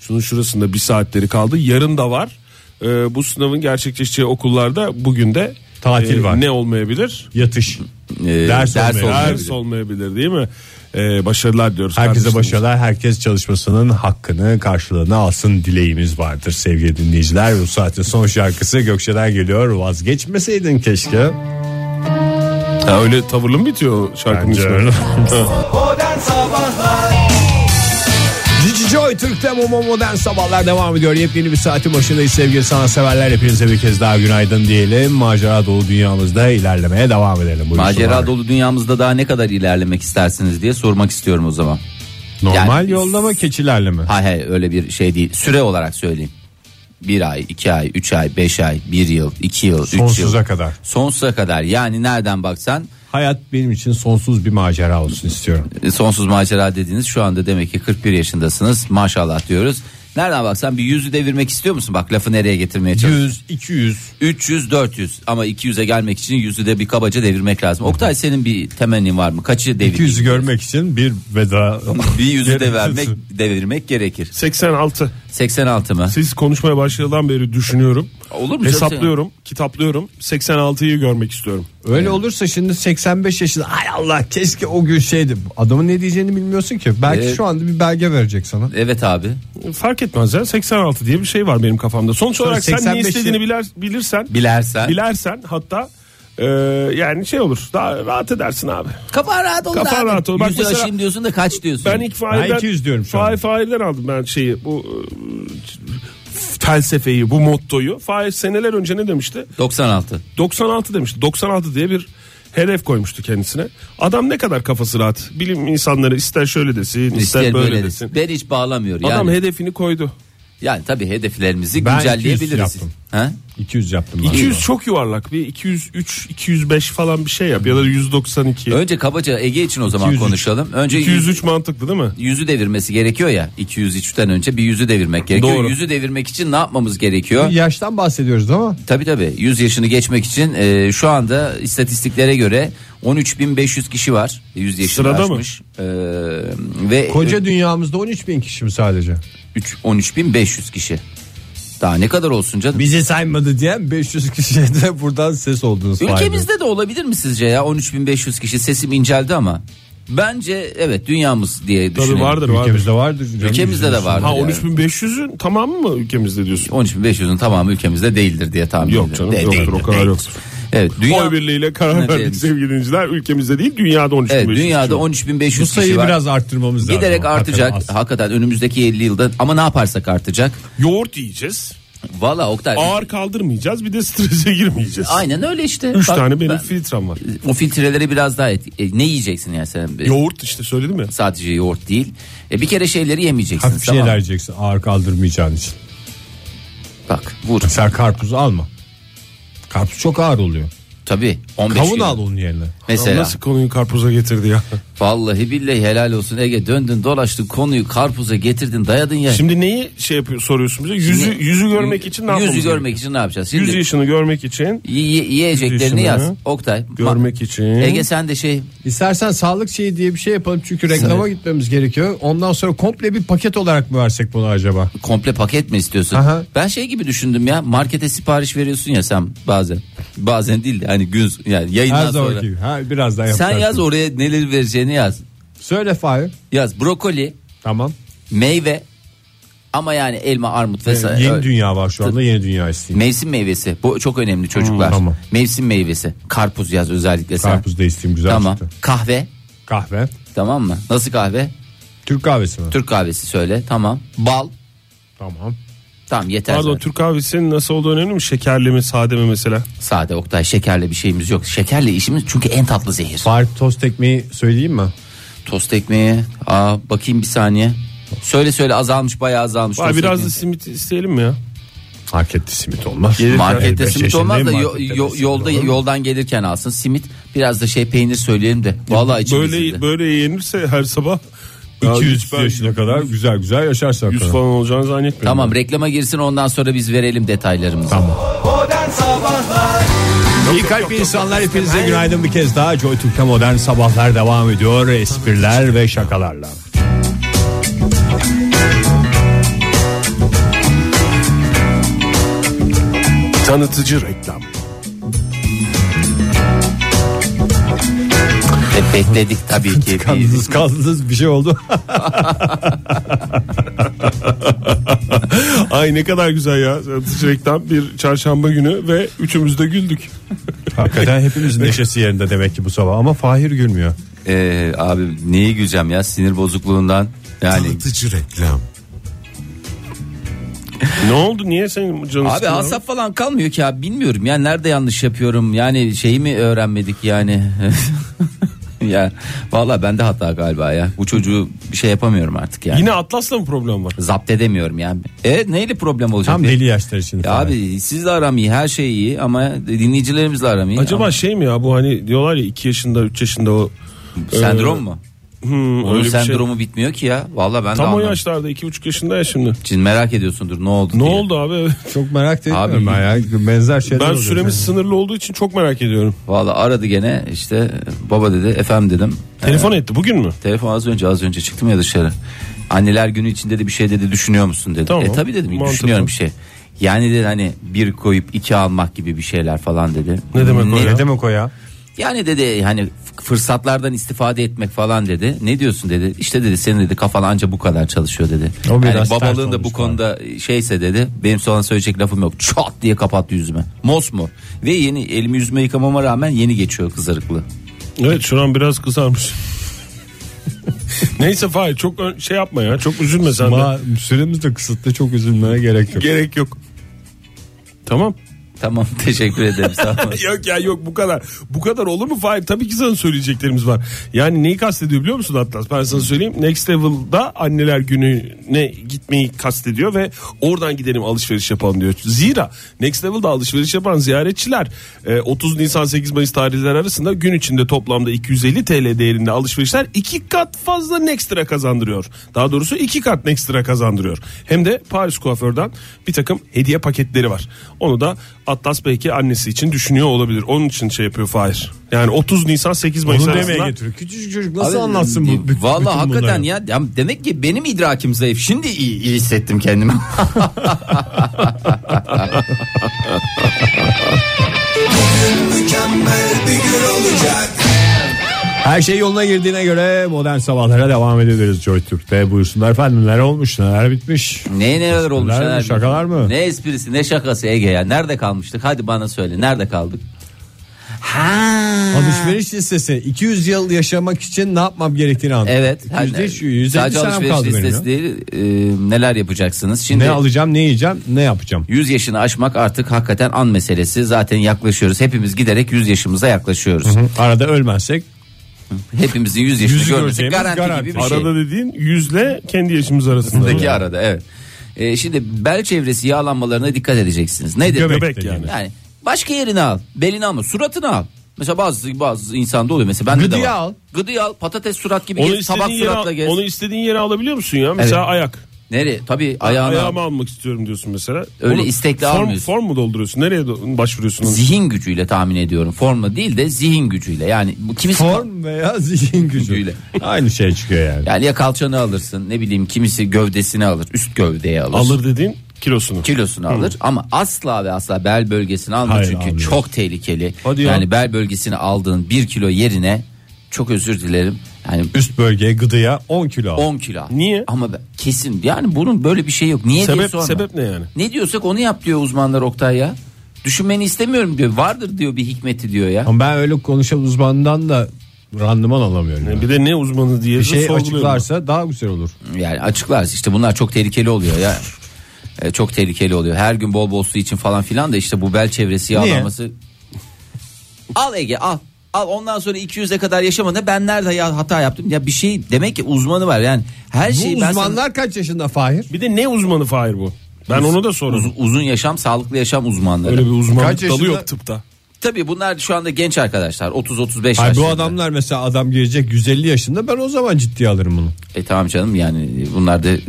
S5: Şunun şurasında bir saatleri kaldı. Yarın da var. Ee, bu sınavın gerçekleşeceği okullarda bugün de e,
S3: Tatil var.
S5: Ne olmayabilir?
S3: Yatış.
S4: Ee,
S3: ders şey- olmayabilir.
S4: olmayabilir.
S5: Ders olmayabilir değil mi? Ee, başarılar diyoruz.
S3: Herkese
S5: kardeşim.
S3: başarılar. Herkes çalışmasının hakkını karşılığını alsın dileğimiz vardır sevgili dinleyiciler. Bu saatin son şarkısı Gökçe'den geliyor. Vazgeçmeseydin keşke.
S5: Ha, öyle tavırlı mı bitiyor şarkının
S3: Bence
S5: ismi?
S3: öyle.
S2: Modern Sabahlar
S3: Cici Joy Türk'te Momo Modern Sabahlar devam ediyor. Yepyeni bir saatin başındayız sevgili sanatseverler. Hepinize bir kez daha günaydın diyelim. Macera dolu dünyamızda ilerlemeye devam edelim. Buyursunlar.
S4: Macera dolu dünyamızda daha ne kadar ilerlemek istersiniz diye sormak istiyorum o zaman.
S3: Normal
S4: Yani-
S3: yolda mı keçilerle mi?
S4: Hay hay öyle bir şey değil. Süre olarak söyleyeyim. Bir ay, iki ay, üç ay, beş ay, bir yıl, iki yıl, üç yıl.
S3: Sonsuza kadar.
S4: Sonsuza kadar yani nereden baksan
S3: Hayat benim için sonsuz bir macera olsun istiyorum.
S4: e, sonsuz macera dediğiniz şu anda demek ki 41 yaşındasınız maşallah diyoruz. Nereden baksan bir yüzü devirmek istiyor musun? Bak lafı nereye getirmeye çalış.
S3: 100, 200.
S4: 300 400 ama 200'e gelmek için yüzü de bir kabaca devirmek lazım. Oktay senin bir temennin var mı? Kaçı devir?
S3: 200'ü görmek için bir veda.
S4: bir yüzü de vermek devirmek gerekir.
S5: 86.
S4: 86 mı?
S5: Siz konuşmaya başladığından beri düşünüyorum.
S4: Olur mu?
S5: Hesaplıyorum, kitaplıyorum. 86'yı görmek istiyorum.
S3: Öyle olursa şimdi 85 yaşında ay Allah keşke o gün şeydi. Adamın ne diyeceğini bilmiyorsun ki. Belki
S4: Evet.
S3: şu anda bir belge verecek sana.
S4: Evet abi.
S5: Fark etmez ya. 86 diye bir şey var benim kafamda. Sonuç olarak sen ne
S3: 85'i
S5: istediğini biler, bilirsen
S4: Bilersen.
S5: Bilersen hatta Ee, yani şey olur daha rahat edersin abi.
S4: Kafa rahat ol da
S5: Kafa
S4: abi.
S5: rahat ol. Bak
S4: Yüzü
S5: mesela-
S4: aşayım diyorsun da kaç diyorsun.
S5: Ben ilk failden,
S3: Ben 200 diyorum şu an.
S5: Fail- failden aldım ben şeyi bu e, felsefeyi bu mottoyu. Fail seneler önce ne demişti?
S4: 96.
S5: 96 demişti. 96 diye bir hedef koymuştu kendisine. Adam ne kadar kafası rahat. Bilim insanları ister şöyle desin, ister,
S4: İster
S5: böyle,
S4: böyle
S5: desin.
S4: Ben hiç bağlamıyor.
S5: Adam
S4: yani,
S5: hedefini koydu.
S4: yani tabii hedeflerimizi
S3: Ben 200
S4: güncelleyebiliriz.
S3: yaptım.
S4: Ha?
S3: 200 yaptım. ben.
S5: 200 çok yuvarlak. Bir 203, 205 falan bir şey yap ya da 192.
S4: Önce kabaca Ege için o zaman
S3: 203.
S4: konuşalım. Önce
S5: 203 mantıklı değil mi?
S4: yüzü devirmesi gerekiyor ya. 203'ten önce bir yüzü devirmek gerekiyor.
S5: Doğru.
S4: Yüzü devirmek için ne yapmamız gerekiyor?
S3: Ee, Yaştan bahsediyoruz ama
S4: Tabii tabii 100 yaşını geçmek için e, şu anda istatistiklere göre 13.500 kişi var. 100 yaşını
S5: Sırada mı?
S4: aşmış. E, ve
S3: koca dünyamızda 13 bin kişi mi sadece?
S4: Üç- 13.500 kişi. Daha ne kadar olsun canım?
S3: Bizi saymadı diyen 500 kişiye de buradan ses oldunuz. Fahir Bey.
S4: Ülkemizde de olabilir mi sizce ya 13.500 kişi sesim inceldi ama bence evet dünyamız diye
S5: Tabii
S4: düşünüyorum.
S5: vardır vardır.
S3: Ülkemizde vardır.
S4: Ülkemizde de vardır.
S5: Ha
S4: yani.
S5: 13.500'ün tamamı mı ülkemizde diyorsun?
S4: 13.500'ün tamamı ülkemizde değildir diye tahmin ediyorum.
S5: Yok canım
S4: De-
S5: yoktur
S4: değildir,
S5: o kadar
S4: değildir.
S5: yoktur.
S4: Evet, dünya,
S5: Oy birliğiyle karar
S4: Evet,
S5: verdik
S4: evet.
S5: sevgili dinleyiciler. Ülkemizde değil dünyada 13.500.
S4: evet, dünyada
S3: Bu
S4: 13.500
S3: sayıyı
S4: kişi var.
S3: biraz arttırmamız lazım.
S4: Giderek
S3: Hakikaten
S4: artacak.
S3: az.
S4: Hakikaten, önümüzdeki 50 yılda ama ne yaparsak artacak.
S5: Yoğurt yiyeceğiz.
S4: Valla Oktay.
S5: Ağır kaldırmayacağız bir de strese girmeyeceğiz.
S4: Aynen öyle işte.
S5: 3
S4: Bak,
S5: tane benim
S4: ben-
S5: filtrem var.
S4: o filtreleri biraz daha et. E, ne yiyeceksin yani sen? E,
S5: Yoğurt işte söyledim ya.
S4: Sadece yoğurt değil. E, bir kere şeyleri yemeyeceksin.
S3: Hafif
S4: tamam.
S3: şeyler yiyeceksin şey ağır kaldırmayacağın için.
S4: Bak vur.
S3: Sen karpuzu alma. Karpuz çok ağır oluyor.
S4: Tabii. 15
S3: Kavun
S4: kilo.
S3: al onun yerine.
S4: Mesela.
S5: Nasıl konuyu karpuza getirdi ya?
S4: Vallahi billahi helal olsun Ege döndün dolaştın konuyu karpuza getirdin dayadın ya.
S5: Şimdi neyi şey yapıyor soruyorsun bize? Yüzü
S4: Şimdi-
S5: yüzü görmek için ne yapmamız
S4: Yüzü
S5: gerekiyor?
S4: görmek için ne yapacağız? Şimdi
S5: Yüz yaşını görmek için
S4: y- y- yiyeceklerini
S5: Yüz yaşını
S4: yaz. Oktay. ma-
S5: görmek için
S4: Ege sen de şey
S3: İstersen sağlık şeyi diye bir şey yapalım çünkü reklama gitmemiz gerekiyor. Ondan sonra komple bir paket olarak mı versek bunu acaba?
S4: komple paket mi istiyorsun?
S3: Aha.
S4: Ben şey gibi düşündüm ya markete sipariş veriyorsun ya sen bazen. Bazen değil de hani gün yani yayından
S3: Her
S4: sonra.
S3: zaman gibi. Ha, biraz daha
S4: Sen
S3: yaparsın.
S4: yaz oraya neleri vereceğini yaz.
S3: Söyle Fahir.
S4: Yaz brokoli,
S3: Tamam.
S4: meyve ama yani elma, armut vesaire.
S3: yeni
S4: Öyle.
S3: dünya var şu anda yeni dünya isteyeyim.
S4: Mevsim meyvesi. Bu çok önemli çocuklar.
S3: Hmm, tamam.
S4: Mevsim meyvesi. Karpuz yaz özellikle sen.
S3: Karpuz da isteyeyim güzel
S4: Tamam.
S3: çıktı.
S4: Kahve.
S3: Kahve.
S4: Tamam mı? Nasıl kahve?
S3: Türk kahvesi mi?
S4: Türk kahvesi söyle. Tamam. Bal.
S3: Tamam.
S4: Tamam yeter.
S5: Pardon
S4: zaten.
S5: Türk kahvesinin nasıl olduğu önemli mi? Şekerli mi sade mi mesela?
S4: Sade Oktay şekerle bir şeyimiz yok. Şekerle işimiz çünkü en tatlı zehir.
S3: Fahir tost ekmeği söyleyeyim mi?
S4: Tost ekmeği. Aa bakayım bir saniye. Söyle söyle azalmış bayağı azalmış.
S5: Vay,
S4: tost
S5: biraz
S4: ekmeği.
S5: da simit isteyelim mi ya?
S3: Markette simit olmaz.
S4: Markette
S3: Elbette
S4: simit olmaz da
S3: yaşındayım,
S4: yo-
S3: markette
S4: yo-
S3: de simit
S4: yolda
S3: olur.
S4: yoldan gelirken alsın simit. Biraz da şey peynir söyleyelim de. Vallahi içimiz
S5: böyle
S4: sindi.
S5: böyle yenirse her sabah Ya
S3: 200
S5: ben
S3: yaşına kadar güzel güzel yaşarsak.
S5: 100
S3: kadar.
S5: falan olacağını zannetmiyorum.
S4: Tamam reklama girsin ondan sonra biz verelim detaylarımızı.
S2: Modern Sabahlar
S3: İyi kalp insanlar hepinize günaydın bir kez daha. Joy Türk'te modern sabahlar devam ediyor. Espriler ve şakalarla.
S5: Tanıtıcı reklam.
S4: E, bekledik tabii ki.
S3: Kandınız kaldınız bir şey oldu.
S5: Ay ne kadar güzel ya. Tanıtıcı reklam bir çarşamba günü ve üçümüz de güldük.
S3: Hakikaten hepimizin neşesi yerinde demek ki bu sabah ama Fahir gülmüyor.
S4: Ee, abi neyi güleceğim ya sinir bozukluğundan. Yani
S6: Tanıtıcı reklam.
S5: ne oldu? Niye senin canın
S4: abi
S5: sıkkın
S4: asap falan kalmıyor ki abi bilmiyorum ya nerede yanlış yapıyorum yani şeyi mi öğrenmedik yani. ya valla bende hata galiba ya. Bu çocuğu bir şey yapamıyorum artık yani.
S5: Yine Atlas'la mı problem var?
S4: Zapt edemiyorum yani. E neyle problem olacak?
S3: Tam
S4: ya?
S3: deli yaşlar için.
S4: Ya abi sizle aram iyi her şey iyi ama dinleyicilerimizle aram iyi.
S5: Acaba
S4: Ama-
S5: şey mi ya bu hani diyorlar ya 2 yaşında 3 yaşında o
S4: sendrom
S5: Ee,
S4: mu?
S5: Hmm,
S4: Onun
S5: öyle bir şey.
S4: sendromu bitmiyor ki ya. Valla ben de
S5: Tam o
S4: anlamadım.
S5: yaşlarda 2,5 yaşında ya şimdi.
S4: Şimdi merak ediyorsundur ne oldu
S5: Ne
S4: diye.
S5: oldu abi?
S3: Çok merak
S4: Abi-
S3: ediyorum ben ya. Benzer şeyler
S5: Ben
S3: oluyor.
S5: süremiz sınırlı olduğu için çok merak ediyorum.
S4: Valla aradı gene işte baba dedi efendim dedim.
S5: Telefon etti bugün mü?
S4: Telefon az önce az önce çıktım ya dışarı. Anneler günü içinde de bir şey dedi düşünüyor musun dedi.
S5: Tamam.
S4: E tabi dedim
S5: Mantıklı.
S4: düşünüyorum bir şey. Yani dedi hani bir koyup iki almak gibi bir şeyler falan dedi.
S5: Ne demek o
S3: Ne
S5: ya?
S3: demek o ya?
S4: Yani dedi hani f- fırsatlardan istifade etmek falan dedi. Ne diyorsun dedi. İşte dedi senin dedi kafan anca bu kadar çalışıyor dedi.
S6: O
S4: Yani
S6: biraz ters
S4: babalığın da bu
S6: olmuş
S4: konuda şeyse dedi. Benim sonra söyleyecek lafım yok. Çat diye kapattı yüzüme. Mosmor. Ve yeni elimi yüzüme yıkamama rağmen yeni geçiyor kızarıklı.
S5: Evet şuran biraz kızarmış. Neyse Fahir çok ön- şey yapma ya çok üzülme sen de.
S6: Ma süremiz de kısıtlı çok üzülmeye gerek yok.
S5: Gerek yok. Tamam.
S4: Tamam teşekkür ederim sağ olun.
S5: Yok ya yok bu kadar. Bu kadar olur mu Fahir? Tabii ki sana söyleyeceklerimiz var. Yani neyi kastediyor biliyor musun Atlas? Ben sana söyleyeyim. Next Level'da anneler gününe gitmeyi kastediyor ve oradan gidelim alışveriş yapalım diyor. Zira Next Level'da alışveriş yapan ziyaretçiler e, 30 Nisan 8 Mayıs tarihleri arasında gün içinde toplamda 250 TL değerinde alışverişler iki kat fazla Next'lere kazandırıyor. Daha doğrusu iki kat Next'lere kazandırıyor. Hem de Paris kuaförden bir takım hediye paketleri var. Onu da Atlas belki annesi için düşünüyor olabilir. Onun için şey yapıyor Fahir. Yani 30 Nisan 8 Mayıs
S6: Onu demeye
S5: arasında
S6: getiriyor. Küçücük çocuk nasıl
S4: Abi,
S6: anlatsın bu? bütün- bütün
S4: Valla hakikaten
S6: bunları?
S4: ya. ya demek ki benim idrakim zayıf. Şimdi iyi, iyi hissettim kendimi.
S2: Mükemmel bir gün olacak.
S6: Her şey yoluna girdiğine göre modern sabahlara devam ediyoruz Joy Türk'te. Buyursunlar efendim neler olmuş neler bitmiş.
S4: ne neler olmuş
S6: Espriler mi,
S4: neler.
S6: şakalar mı?
S4: Ne esprisi ne şakası Ege ya. Nerede kalmıştık? Hadi bana söyle. Nerede kaldık? Ha.
S3: Alışveriş listesi 200 yıl yaşamak için ne yapmam gerektiğini anladım.
S4: Evet.
S3: Yani
S4: Hani
S3: şu 150
S4: sadece
S3: senem
S4: alışveriş
S3: kaldı benim
S4: listesi
S3: ya.
S4: değil. e, neler yapacaksınız? Şimdi
S6: Ne alacağım ne yiyeceğim ne yapacağım.
S4: 100 yaşını aşmak artık hakikaten an meselesi. Zaten yaklaşıyoruz. Hepimiz giderek 100 yaşımıza yaklaşıyoruz.
S6: Arada ölmezsek
S4: Hepimizin 100 yaşını
S6: Yüzü
S4: görmesi
S6: göreceğimiz
S4: garanti,
S6: garanti.
S4: gibi bir şey.
S5: arada dediğin yüzle kendi yaşımız arasında.
S4: Arasındaki arada evet. Ee, şimdi bel çevresi yağlanmalarına dikkat edeceksiniz. Nedir?
S6: Göbek
S5: Göbek yani.
S6: yani.
S4: Yani başka yerini al. Belini alma. Suratını al. Mesela bazı bazı insanda oluyor mesela bende de
S6: Gıdıyı
S4: var.
S6: al.
S4: Gıdıyı al. Patates surat gibi
S5: Onu
S4: gez. Tabak
S5: istediğin,
S4: suratla
S5: yere,
S4: gez.
S5: onu istediğin yere alabiliyor musun ya? Mesela
S4: Evet.
S5: ayak.
S4: Nereye? Tabii ayağını al.
S5: Ayağımı almak istiyorum diyorsun mesela.
S4: Öyle
S5: Onu
S4: istekli
S5: form,
S4: almıyorsun.
S5: Form mu dolduruyorsun? Nereye do- başvuruyorsun? onu?
S4: Zihin gücüyle tahmin ediyorum. Formla değil de zihin gücüyle. Yani bu kimisi
S6: form veya zihin gücü.
S4: Gücüyle.
S6: Aynı şey çıkıyor yani.
S4: yani ya kalçanı alırsın. Ne bileyim kimisi gövdesini alır. Üst gövdeyi alır.
S5: Alır dediğin kilosunu.
S4: kilosunu alır ama asla ve asla bel bölgesini alma
S6: Hayır,
S4: çünkü
S6: almıyor.
S4: çok tehlikeli.
S5: Hadi ya.
S4: yani bel bölgesini aldığın 1 kilo yerine çok özür dilerim. Yani
S6: Üst bölgeye gıdıya 10 kilo. al.
S4: 10 kilo. al.
S5: Niye?
S4: Ama ben- kesin yani bunun böyle bir şey yok. Niye diye
S5: Sebep-
S4: sorma.
S5: sebep ne yani?
S4: Ne diyorsak onu yap diyor uzmanlar Oktay ya. Düşünmeni istemiyorum diyor. Vardır diyor bir hikmeti diyor ya.
S6: Ama ben öyle konuşan uzmandan da randıman alamıyorum. yani.
S5: Yani bir de ne uzmanı diye
S6: Bir şey
S5: sorguluyorum.
S6: açıklarsa daha güzel olur.
S4: Yani açıklarız işte bunlar çok tehlikeli oluyor ya. E, çok tehlikeli oluyor. Her gün bol bol su için falan filan da işte bu bel çevresi yağlanması. Al Ege al. Al ondan sonra 200'e kadar yaşamadı. Ben nerede ya hata yaptım? Ya bir şey demek ki uzmanı var. Yani her
S6: Bu
S4: şeyi şey ben sana-
S6: uzmanlar kaç yaşında Fahir?
S5: Bir de ne uzmanı Fahir bu? Ben onu da sorarım.
S4: Uz- uzun yaşam, sağlıklı yaşam uzmanları.
S5: Öyle bir uzmanlık
S6: Kaç
S5: dalı
S6: yaşında-
S5: yok tıpta.
S4: Tabii bunlar şu anda genç arkadaşlar. 30 35
S6: Ay bu
S4: yaşlarında.
S6: adamlar mesela adam gelecek 150 yaşında ben o zaman ciddiye alırım bunu.
S4: E tamam canım yani bunlar da e,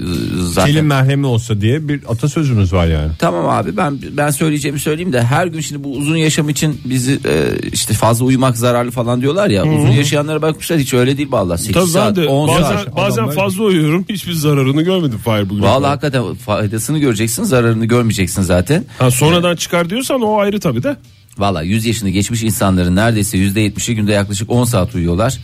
S4: zaten
S6: Kelin merhemi olsa diye bir atasözümüz var yani.
S4: Tamam abi ben ben söyleyeceğimi söyleyeyim de her gün şimdi bu uzun yaşam için bizi e, işte fazla uyumak zararlı falan diyorlar ya. Uzun yaşayanlara bakmışlar hiç öyle değil vallahi 8
S5: Tabii ben
S4: saat
S5: de
S4: 10 saat.
S5: bazen, bazen
S6: Adamlar-
S5: fazla uyuyorum. Hiçbir zararını görmedim Fahir bugün.
S4: Vallahi hakikaten faydasını göreceksin zararını görmeyeceksin zaten.
S5: Ha, sonradan çıkar diyorsan o ayrı tabii de.
S4: Vallahi 100 yaşını geçmiş insanların neredeyse %70'i günde yaklaşık 10 saat uyuyorlar.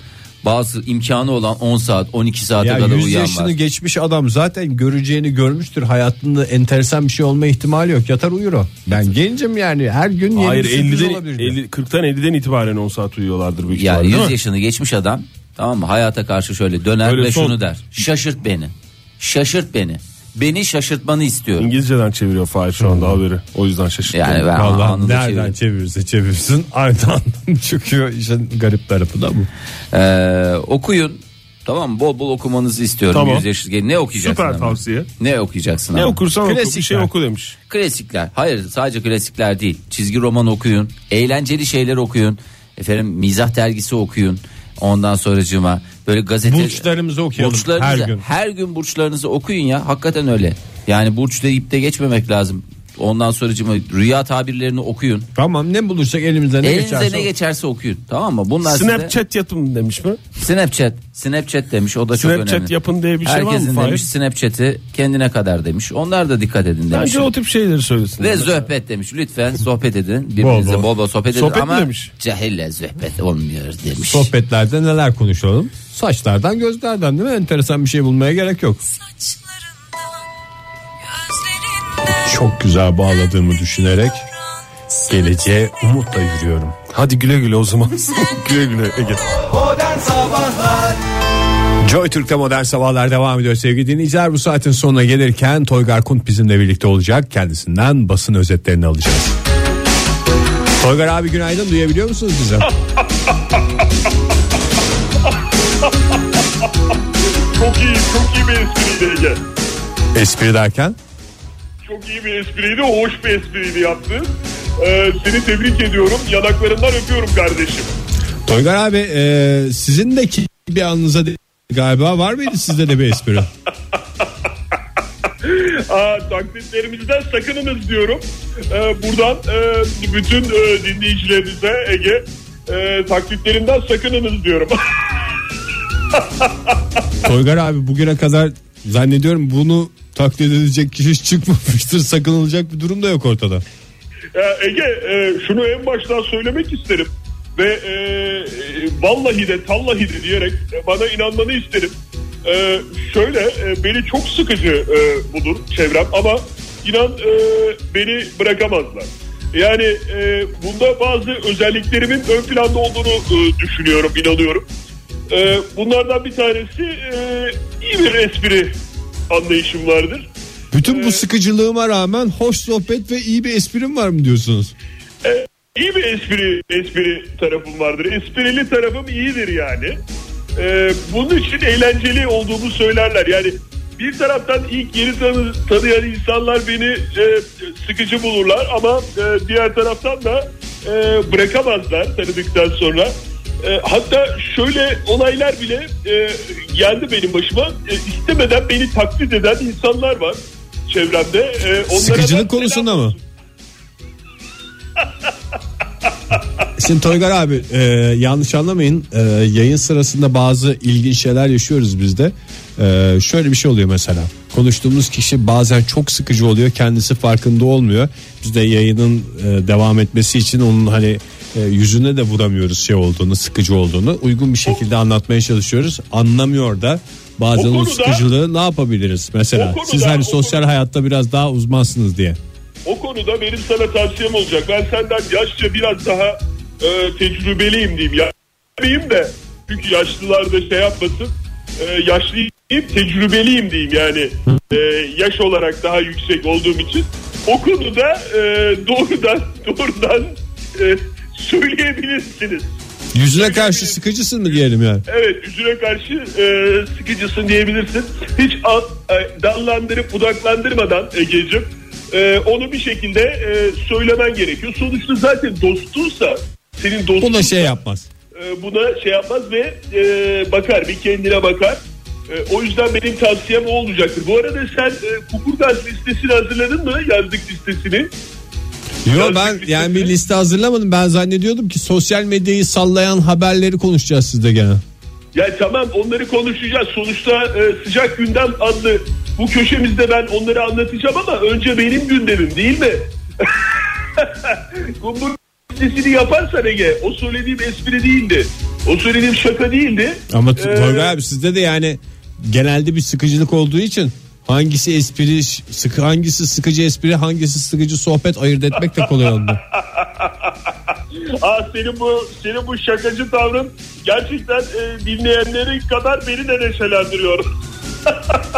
S4: Bazı imkanı olan 10 saat 12 saate
S6: Ya
S4: kadar
S6: 100
S4: uyuyan
S6: yaşını
S4: var.
S6: geçmiş adam zaten göreceğini görmüştür. Hayatında enteresan bir şey olma ihtimali yok. Yatar uyur o. Ben gencim yani her gün yeni
S5: Hayır
S6: bir sürpriz
S5: 50'den
S6: olabilir.
S5: 50, 40'tan 50'den itibaren 10 saat uyuyorlardır büyük ihtimalle.
S4: Yani
S5: değil
S4: 100
S5: mi?
S4: yaşını geçmiş adam tamam mı hayata karşı şöyle döner
S5: Böyle
S4: ve
S5: son-
S4: şunu der. Şaşırt beni. Şaşırt beni. Beni şaşırtmanı istiyorum.
S5: İngilizceden çeviriyor Fahir şu
S6: Hmm.
S5: anda haberi. O yüzden şaşırdım.
S4: Yani ben
S6: Allah
S4: anında
S6: nereden
S4: çeviriyorum.
S6: çevirirse çevirsin aynı anlam çıkıyor işin garip tarafı da bu.
S4: Ee, okuyun. Tamam mı? bol bol okumanızı istiyorum.
S5: Tamam.
S4: 100 yaşı- ne okuyacaksın?
S5: Süper
S4: ama?
S5: tavsiye.
S4: Ne okuyacaksın?
S5: Ne
S4: ama?
S5: okursan oku bir şey
S6: Klasikler.
S5: oku demiş.
S4: Klasikler. Hayır sadece klasikler değil. Çizgi roman okuyun. Eğlenceli şeyler okuyun. Efendim mizah dergisi okuyun. Ondan sonracığıma böyle gazete...
S6: Burçlarımızı okuyalım
S4: Burçlarınızı-
S6: her gün.
S4: Her gün burçlarınızı okuyun ya. Hakikaten öyle. Yani burç deyip de geçmemek lazım. Ondan sonra rüya tabirlerini okuyun.
S3: Tamam ne bulursak elimizden ne
S4: Elinize
S3: geçerse.
S4: ne geçerse okuyun. Tamam mı? Bunlar size
S5: Snapchat yapın demiş mi?
S4: Snapchat. Snapchat demiş. O da çok
S5: Snapchat
S4: önemli.
S5: yapın diye bir şey var mı
S4: Herkesin
S5: Fahir?
S4: demiş Snapchat'i kendine kadar demiş. Onlar da dikkat edin demiş.
S5: Bence o tip şeyleri söylesin.
S4: Ve zöhbet demiş. Lütfen sohbet edin.
S6: Bol
S4: Birbirinize
S6: bol.
S4: bol bol sohbet edin
S5: Sohbet mi
S4: ama
S5: demiş?
S4: cahille zöhbet olmuyor demiş.
S3: Sohbetlerde neler konuşalım? Saçlardan gözlerden değil mi? Enteresan bir şey bulmaya gerek yok.
S7: Saçlarından, gözlerinden
S3: Çok güzel bağladığımı düşünerek geleceğe umutla yürüyorum.
S5: Hadi güle güle o zaman. güle güle Ege.
S3: Joy Türk'te modern sabahlar devam ediyor sevgili dinleyiciler. Bu saatin sonuna gelirken Toygar Kunt bizimle birlikte olacak. Kendisinden basın özetlerini alacağız. Toygar abi günaydın duyabiliyor musunuz bizi?
S1: Çok iyi, çok iyi bir espriydi Ege.
S3: Espri derken
S1: Çok iyi bir espriydi, hoş bir espriydi yaptın. Ee, seni tebrik ediyorum, yanaklarından öpüyorum kardeşim.
S3: Toygar abi e, sizin de ki bir anınıza de- galiba var mıydı sizde de bir espri?
S1: Aa, taklitlerimizden sakınınız diyorum. Ee, buradan e, bütün e, dinleyicilerinize Ege e, taklitlerinden sakınınız diyorum.
S3: Toygar abi bugüne kadar zannediyorum bunu taklit edilecek kişi hiç çıkmamıştır. Sakınılacak bir durum da yok ortada.
S1: Ya Ege e, şunu en baştan söylemek isterim ve e, e, vallahi de tallahi de diyerek e, bana inanmanı isterim. E, şöyle e, beni çok sıkıcı e, bulur çevrem ama inan e, beni bırakamazlar. Yani e, bunda bazı özelliklerimin ön planda olduğunu e, düşünüyorum, inanıyorum. E, bunlardan bir tanesi e, iyi bir espri anlayışım vardır.
S3: Bütün bu sıkıcılığıma rağmen hoş sohbet ve iyi bir esprim var mı diyorsunuz?
S1: İyi bir espri espri tarafım vardır. Esprili tarafım iyidir yani. Ee, bunun için eğlenceli olduğumu söylerler. Yani bir taraftan ilk yeni tanı, tanıyan insanlar beni e, sıkıcı bulurlar ama e, diğer taraftan da e, bırakamazlar tanıdıktan sonra. E, hatta şöyle olaylar bile e, geldi benim başıma. E, istemeden beni taklit eden insanlar var çevremde. E, onlara ben selam
S3: Sıkıcılık konusunda mı? Şimdi Toygar abi e, yanlış anlamayın E, yayın sırasında bazı ilginç şeyler yaşıyoruz bizde. E, şöyle bir şey oluyor mesela konuştuğumuz kişi bazen çok sıkıcı oluyor kendisi farkında olmuyor. Biz de yayının e, devam etmesi için onun hani e, yüzüne de vuramıyoruz şey olduğunu sıkıcı olduğunu uygun bir şekilde anlatmaya çalışıyoruz anlamıyor da bazen o,
S1: O konuda-
S3: sıkıcılığı ne yapabiliriz mesela
S1: O konuda-
S3: siz hani
S1: o
S3: sosyal hayatta biraz daha uzmansınız diye.
S1: O konuda benim sana tavsiyem olacak. Ben senden yaşça biraz daha e, tecrübeliyim diyeyim. Ya, tecrübeliyim de çünkü yaşlılar da şey yapmasın. E, yaşlıyım tecrübeliyim diyeyim yani. E, yaş olarak daha yüksek olduğum için. O konuda e, doğrudan doğrudan e, söyleyebilirsiniz.
S3: Yüzüne karşı sıkıcısın mı diyelim yani.
S1: Evet yüzüne karşı e, sıkıcısın diyebilirsin. Hiç at, e, dallandırıp budaklandırmadan Ege'cim e, onu bir şekilde e, söylemen gerekiyor. Sonuçta zaten dostunsa senin dostun
S3: Buna şey yapmaz.
S1: e, buna şey yapmaz ve e, bakar bir kendine bakar. E, o yüzden benim tavsiyem o olacaktır. Bu arada sen e, kukurgaz listesini hazırladın mı? Yazlık listesini.
S3: Yo ben yani bir liste hazırlamadım. Ben zannediyordum ki sosyal medyayı sallayan haberleri konuşacağız sizde gene.
S1: Ya tamam onları konuşacağız. Sonuçta e, sıcak gündem adlı bu köşemizde ben onları anlatacağım ama önce benim gündemim değil mi? Kumbur listesini yaparsan Ege o söylediğim espri değildi. O söylediğim şaka değildi.
S3: Ama
S1: Ee,
S3: Tolga abi sizde de yani genelde bir sıkıcılık olduğu için hangisi espri sıkı hangisi sıkıcı espri hangisi sıkıcı sohbet ayırt etmek de kolay oldu.
S1: Aa, senin bu senin bu şakacı tavrın gerçekten e, dinleyenleri kadar beni de neşelendiriyor.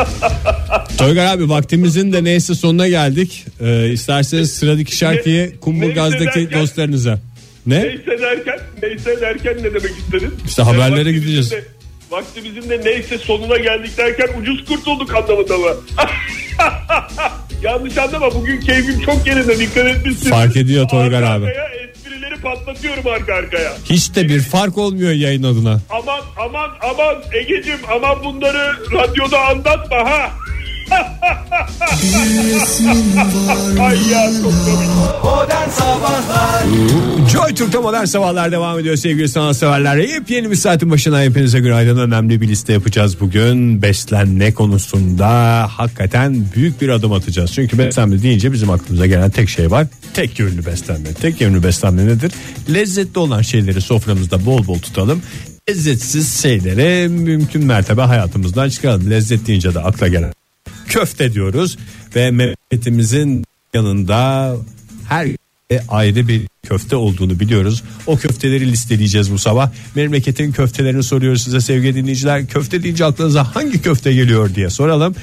S3: Tolga abi vaktimizin de neyse sonuna geldik. Ee, isterseniz sıradaki şarkıyı
S1: neyse
S3: Kumburgaz'daki
S1: derken-
S3: dostlarınıza. Ne?
S1: Neyse derken, neyse derken ne demek istedin?
S3: İşte haberlere
S1: vaktimizin
S3: gideceğiz.
S1: de- Vaktimizin de neyse sonuna geldik derken ucuz kurtulduk anlamında mı? Yanlış anlama bugün keyfim çok yerinde dikkat etmişsin.
S3: Fark ediyor Toygar abi.
S1: Arkaya esprileri patlatıyorum arka arkaya.
S3: Hiç de bir fark olmuyor yayın adına.
S1: Aman aman aman Ege'cim aman bunları radyoda anlatma ha. Ay ya çok komik.
S3: Joy Türk'te modern sabahlar devam ediyor sevgili sanatseverler. Yepyeni bir saatin başına hepinize günaydın. Önemli bir liste yapacağız bugün. Beslenme konusunda hakikaten büyük bir adım atacağız. Çünkü beslenme deyince bizim aklımıza gelen tek şey var. Tek yönlü beslenme. Tek yönlü beslenme nedir? Lezzetli olan şeyleri soframızda bol bol tutalım. Lezzetsiz şeyleri mümkün mertebe hayatımızdan çıkaralım. Lezzet deyince de akla gelen köfte diyoruz. Ve memleketimizin yanında her e, ayrı bir köfte olduğunu biliyoruz. O köfteleri listeleyeceğiz bu sabah. Memleketin köftelerini soruyoruz size sevgili dinleyiciler. Köfte deyince aklınıza hangi köfte geliyor diye soralım.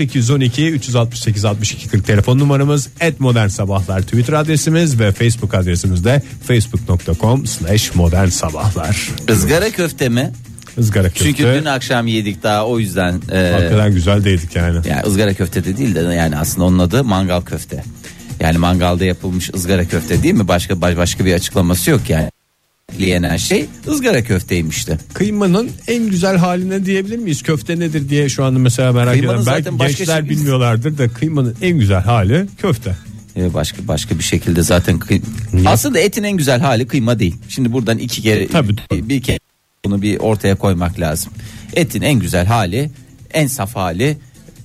S3: 0212 368 62 40 telefon numaramız. Et Modern Sabahlar Twitter adresimiz ve Facebook adresimiz de facebook.com slash modern sabahlar.
S4: Izgara köfte mi?
S3: Izgara köfte.
S4: Çünkü dün akşam yedik daha o yüzden. e,
S3: Hakikaten güzel değdik yani.
S4: yani ızgara köfte de değil de yani aslında onun adı mangal köfte. Yani mangalda yapılmış ızgara köfte değil mi? Başka baş- başka bir açıklaması yok yani. Yenen şey ızgara köfteymişti.
S3: Kıymanın en güzel haline diyebilir miyiz? Köfte nedir diye şu anda mesela merak
S4: Kıymanın
S3: ediyorum. Belki
S4: zaten başka
S3: gençler
S4: şey-
S3: bilmiyorlardır da kıymanın en güzel hali köfte.
S4: Ee, başka başka bir şekilde zaten kıy- aslında etin en güzel hali kıyma değil. Şimdi buradan iki kere
S3: Tabii,
S4: bir, bir kere bunu bir ortaya koymak lazım. Etin en güzel hali, en saf hali,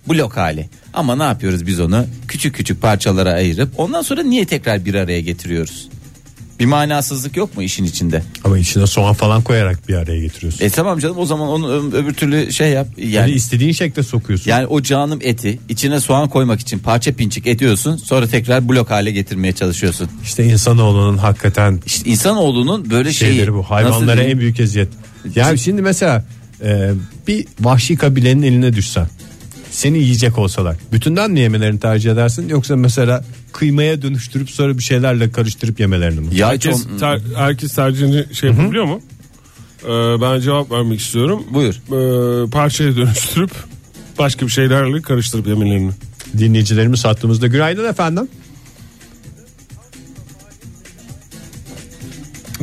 S4: blok hali. Ama ne yapıyoruz biz onu? Küçük küçük parçalara ayırıp ondan sonra niye tekrar bir araya getiriyoruz? Bir manasızlık yok mu işin içinde?
S3: Ama içine soğan falan koyarak bir araya getiriyorsun.
S4: E tamam canım o zaman onu ö- öbür türlü şey yap.
S3: yani
S4: Yani
S3: istediğin şekle sokuyorsun.
S4: yani o canım eti içine soğan koymak için parça pinçik ediyorsun. Sonra tekrar blok hale getirmeye çalışıyorsun.
S3: işte insanoğlunun hakikaten
S4: İşte insanoğlunun böyle şeyi
S3: şeyleri bu.
S4: Şey, nasıl
S3: Hayvanlara
S4: diyeyim?
S3: en büyük eziyet. Yani şimdi mesela e, bir vahşi kabilenin eline düşsen seni yiyecek olsalar bütünden mi yemelerini tercih edersin yoksa mesela kıymaya dönüştürüp sonra bir şeylerle karıştırıp yemelerini mi?
S4: ya
S5: Herkes,
S4: çok-
S5: ter- herkes tercihini şey yapabiliyor mu? Ee, ben cevap vermek istiyorum.
S4: Buyur.
S5: Ee, parçaya dönüştürüp başka bir şeylerle karıştırıp yemelerini.
S3: Dinleyicilerimiz hattımızda günaydın efendim.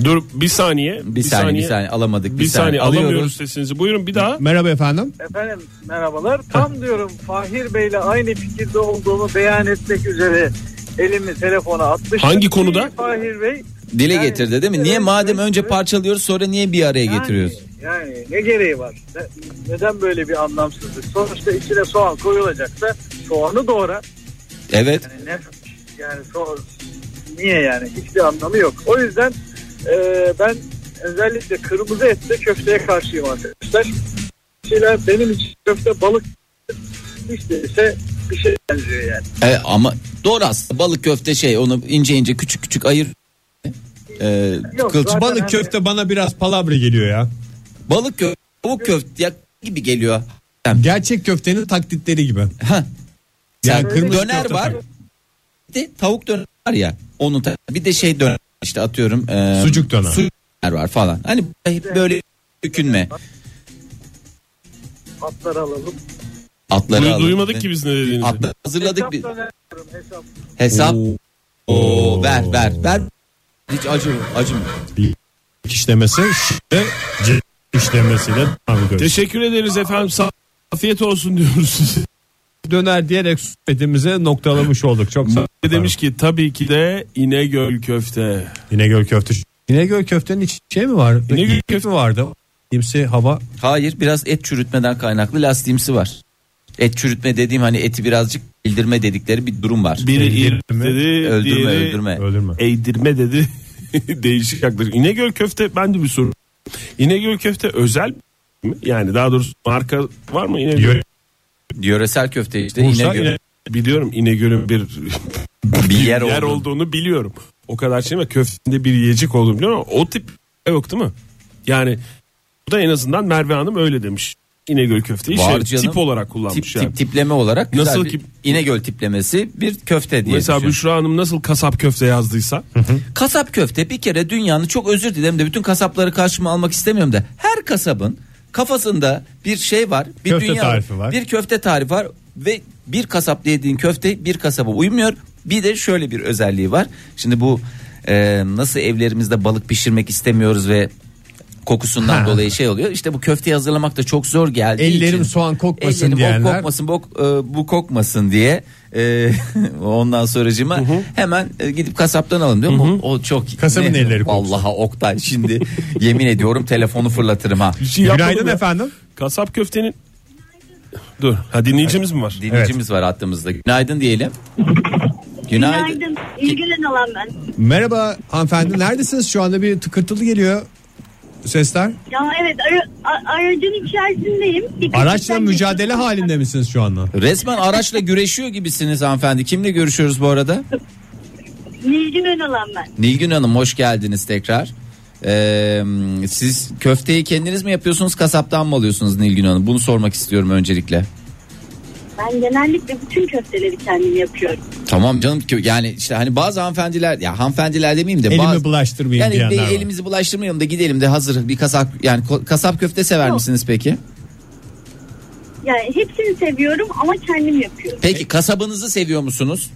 S5: Dur bir saniye.
S4: bir, saniye, bir saniye alamadık bir,
S5: Bir saniye alamıyoruz
S4: alıyoruz.
S5: sesinizi. Buyurun bir daha.
S3: Merhaba efendim.
S8: Efendim merhabalar. Tam diyorum Fahir Bey'le aynı fikirde olduğumu beyan etmek üzere elimi telefona atmıştım.
S5: Hangi konuda?
S8: Fahir Bey.
S4: Dile
S8: Yani,
S4: getirdi değil mi?
S8: evet,
S4: Niye madem
S8: evet,
S4: önce
S8: evet.
S4: parçalıyoruz sonra niye bir araya getiriyoruz?
S8: Yani, yani ne gereği var? Ne- neden böyle bir anlamsızlık? Sonuçta içine soğan koyulacaksa soğanı doğra.
S4: Evet.
S8: Yani ne yani soğan niye yani hiçbir anlamı yok. O yüzden e, ben özellikle kırmızı ette köfteye karşıyım arkadaşlar. Şeyler benim için köfte balık hiç değilse bir şey benziyor yani.
S4: E, ama doğru aslında balık köfte şey onu ince ince küçük küçük ayır. E,
S8: Yok,
S4: kılçı-
S8: zaten
S3: Balık
S8: hani-
S3: köfte bana biraz palavra geliyor ya.
S4: Balık köfte, tavuk köfte ya, gibi geliyor. Yani,
S3: Gerçek köftenin taklitleri gibi.
S4: ha.
S3: Yani
S4: Yani
S3: kırmızı
S4: döner
S3: köfte
S4: var.
S3: tabii.
S4: Bir de tavuk döner var ya. Onun ta- bir de şey döner işte atıyorum. e,
S3: Sucuk döner.
S4: Sucuk döner var falan. Hani hep böyle dökünme.
S8: Atları alalım.
S4: Atları
S5: Duy-
S4: alalım.
S5: duymadık ki biz ne dediğinizi.
S4: Atları hazırladık bir
S8: Hesap da vermiyorum, hesap.
S4: hesap. Oo, ver ver ver. Hiç acım acım.
S3: işlemesi ve cilt işlemesiyle devam ediyoruz.
S5: Teşekkür ederiz efendim. Sağ Afiyet olsun diyoruz size.
S3: Döner diyerek sohbetimizi noktalamış olduk. Çok sağ olun.
S5: Demiş ki tabii ki de İnegöl köfte.
S3: İnegöl köfte. İnegöl köftenin içi şey mi var?
S5: İnegöl
S3: İyi köfte mi vardı. İmsi hava.
S4: Hayır biraz et çürütmeden kaynaklı lastiğimsi var. Et çürütme dediğim hani eti birazcık bildirme dedikleri bir durum var.
S5: Biri
S3: Öldürme.
S5: il dedi,
S4: öldürme
S5: diğeri
S4: öldürme.
S3: Öldürme.
S5: eğdirme dedi. Değişik yaklaşım. İnegöl köfte ben de bir soru. İnegöl köfte özel mi? Yani daha doğrusu marka var mı İnegöl?
S3: Yö-
S4: Yöresel köfte işte
S3: Bursa
S4: İnegöl.
S3: İne-
S5: Biliyorum İnegöl'ün bir
S4: bir yer,
S5: yer,
S4: oldu.
S5: olduğunu biliyorum. O kadar şey mi? Köftede bir yiyecek olduğunu biliyorum ama o tip yok değil mi? Yani bu da en azından Merve Hanım öyle demiş. İnegöl köfteyi
S4: Var
S5: şey,
S4: canım.
S5: tip olarak kullanmış
S4: Tip,
S5: yani.
S4: tip tipleme olarak güzel
S5: Nasıl
S4: bir
S5: ki-
S4: İnegöl tiplemesi bir köfte diye
S5: Mesela
S4: düşün.
S5: Büşra Hanım nasıl kasap köfte yazdıysa
S4: Kasap köfte bir kere dünyanın çok özür dilerim de bütün kasapları karşıma almak istemiyorum da her kasabın kafasında bir şey var. Bir
S3: Köfte
S4: dünya
S3: tarifi var.
S4: Bir köfte tarifi var ve bir kasap dediğin köfte bir kasaba uymuyor. Bir de şöyle bir özelliği var. Şimdi bu e, nasıl evlerimizde balık pişirmek istemiyoruz ve kokusundan dolayı şey oluyor. İşte bu köfteyi hazırlamak da çok zor geldi.
S3: Ellerim soğan kokmasın
S4: Ellerim
S3: diyenler.
S4: bok kokmasın bok e, bu kokmasın diye. E, ondan sonracıma hemen e, gidip kasaptan alın diyor mu? O çok
S3: Kasabın elleri koksun.
S4: Vallahi Oktay şimdi yemin ediyorum telefonu fırlatırım ha.
S5: Bir şey yapmadım
S3: Günaydın
S5: ya.
S3: efendim.
S5: Kasap köftenin... Dur. Ha dinleyicimiz mi var?
S4: Dinleyicimiz var hattımızda. Günaydın diyelim. Günaydın.
S9: Günaydın. İyi günler olan ben.
S3: Merhaba hanımefendi neredesiniz şu anda bir tıkırtılı geliyor sesler.
S9: Ya evet ara, a- aracın içerisindeyim. Bir
S3: Araçla
S9: küçükten
S3: mücadele
S9: geçiyorum.
S3: halinde misiniz şu anda?
S4: Resmen araçla güreşiyor gibisiniz hanımefendi. Kimle görüşüyoruz bu arada?
S9: Nilgün olan ben.
S4: Nilgün Hanım hoş geldiniz tekrar. Ee, siz köfteyi kendiniz mi yapıyorsunuz kasaptan mı alıyorsunuz Nilgün Hanım? Bunu sormak istiyorum öncelikle.
S9: Ben genellikle bütün köfteleri kendim yapıyorum.
S4: Tamam canım kö- yani işte hani bazı hanımefendiler ya hanımefendiler demeyeyim de
S3: Elimi
S4: bazı,
S3: bulaştırmayayım
S4: yani
S3: diyenler
S4: bir
S3: var.
S4: elimizi bulaştırmayalım da gidelim de hazır bir kasap yani ko- kasap köfte sever
S9: Yok.
S4: misiniz peki?
S9: Yani hepsini seviyorum ama kendim yapıyorum.
S4: Peki kasabınızı seviyor musunuz?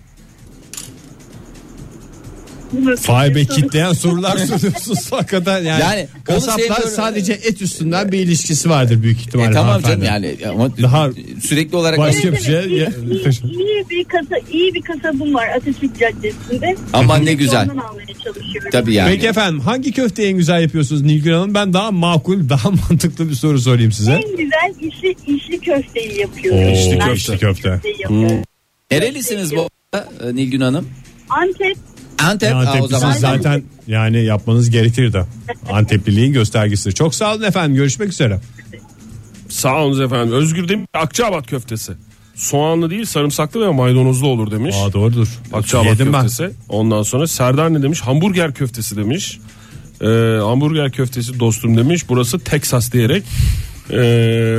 S9: Bunu
S3: Vay be
S9: soruyorum.
S3: kitleyen sorular soruyorsunuz hakikaten yani.
S4: Şey Yani onu
S3: kasaplar
S4: seviyorum.
S3: sadece et üstünden bir ilişkisi vardır büyük
S4: E,
S3: ihtimalle.
S4: tamam canım
S3: hanımefendi.
S4: yani ama
S3: Daha
S4: sürekli olarak
S3: başka-
S9: Evet,
S3: Şey-
S9: evet. İyi, iyi, iyi bir kasa, iyi bir kasabım var Atatürk Caddesi'nde.
S4: aman ne güzel.
S9: Ondan almaya çalışıyorum.
S4: Tabii yani.
S3: Peki efendim hangi köfteyi en güzel yapıyorsunuz Nilgün Hanım? Ben daha makul, daha mantıklı bir soru sorayım size.
S9: En güzel işli, işli köfteyi yapıyorum.
S3: Oo,
S9: Ben
S3: işli köfte.
S9: köfteyi yapıyorum.
S4: Hmm. Nerelisiniz bu arada, e, Nilgün Hanım?
S9: Antep
S4: Antep. Aa, o
S3: Antep'lisiniz
S4: zaman
S3: zaten yani yapmanız gerekir de. Antepliliğin göstergesi. Çok sağ olun efendim. Görüşmek üzere.
S5: Sağ olun efendim. Özgür demiş Akçaabat köftesi. Soğanlı değil sarımsaklı ve maydanozlu olur demiş.
S3: Aa doğrudur.
S5: Akçaabat
S3: Yedim ben.
S5: köftesi. Ondan sonra Serdar ne demiş? Hamburger köftesi demiş. Ee, hamburger köftesi dostum demiş. Burası Texas diyerek. Ee,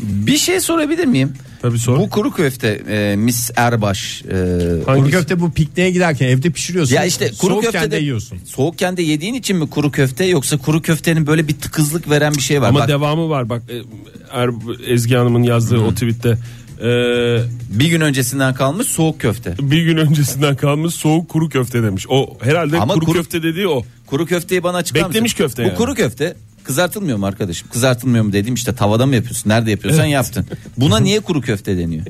S4: Bir şey sorabilir miyim?
S5: tabii sor.
S4: Bu kuru köfte e, Miss Erbaş e,
S3: Kuru
S5: Hangisi?
S3: köfte bu pikniğe giderken evde pişiriyorsun.
S4: ya işte kuru
S3: Soğukken
S4: köftede
S3: de yiyorsun.
S4: Soğukken de yediğin için mi kuru köfte yoksa kuru köftenin böyle bir tıkızlık veren bir şey var.
S5: Ama
S4: Bak,
S5: devamı var bak. e, Er- Ezgi Hanım'ın yazdığı o tweette. Ee,
S4: bir gün öncesinden kalmış soğuk köfte.
S5: bir gün öncesinden kalmış soğuk kuru köfte demiş. O herhalde
S4: Ama
S5: kuru,
S4: kuru-
S5: köfte dediği o.
S4: Kuru köfteyi bana açıklar mısın?
S5: Beklemiş köfte
S4: Bu
S5: yani.
S4: kuru köfte kızartılmıyor mu arkadaşım? Kızartılmıyor mu dedim işte tavada mı yapıyorsun? Nerede yapıyorsan yaptın. Buna niye kuru köfte deniyor?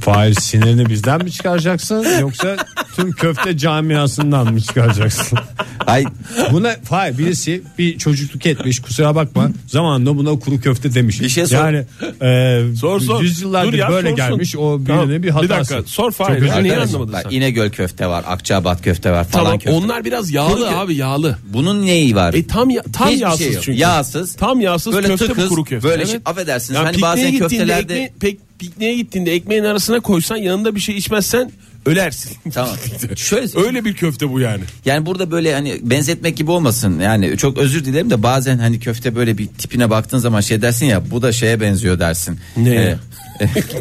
S3: Fahir sinirini bizden mi çıkaracaksın yoksa tüm köfte camiasından mı çıkaracaksın?
S4: Ay
S3: Buna Fahir birisi bir çocukluk etmiş kusura bakma zamanında buna kuru köfte demiş.
S4: Bir şey sor.
S3: Yani e,
S5: Sor, sor.
S3: yüzyıllardır
S5: Dur ya,
S3: böyle
S5: sorsun.
S3: gelmiş o birine
S5: Tamam,
S3: bir
S5: bir
S3: hatası.
S5: dakika, sor Fahir
S3: Çok
S5: ya.
S3: özür
S5: Niye
S3: dilerim.
S5: anlamadım? anlamadın
S4: bak,
S5: sen?
S4: İnegöl köfte var, Akçaabat köfte var falan
S5: Tamam,
S4: köfte.
S5: onlar biraz yağlı
S4: Kuru kö-
S5: abi yağlı.
S4: Bunun neyi var?
S5: E tam ya- tam
S4: Hiçbir şey
S5: yağsız
S4: yok.
S5: çünkü.
S4: Yağsız.
S5: Tam yağsız
S4: Böyle
S5: köfte
S4: tıkız,
S5: bu kuru köfte.
S4: böyle
S5: Evet.
S4: şey- affedersiniz,
S5: Ya
S4: hani
S5: pikniğe
S4: bazen
S5: gittiğinde
S4: köftelerde-
S5: ekmeği- pek pikniğe gittiğinde ekmeğin arasına koysan yanında bir şey içmezsen ölersin.
S4: Tamam. Şöyle
S5: Öyle bir köfte bu yani.
S4: Yani burada böyle hani benzetmek gibi olmasın. Yani çok özür dilerim de bazen hani köfte böyle bir tipine baktığın zaman şey dersin ya bu da şeye benziyor dersin.
S5: Ne?
S4: Ee,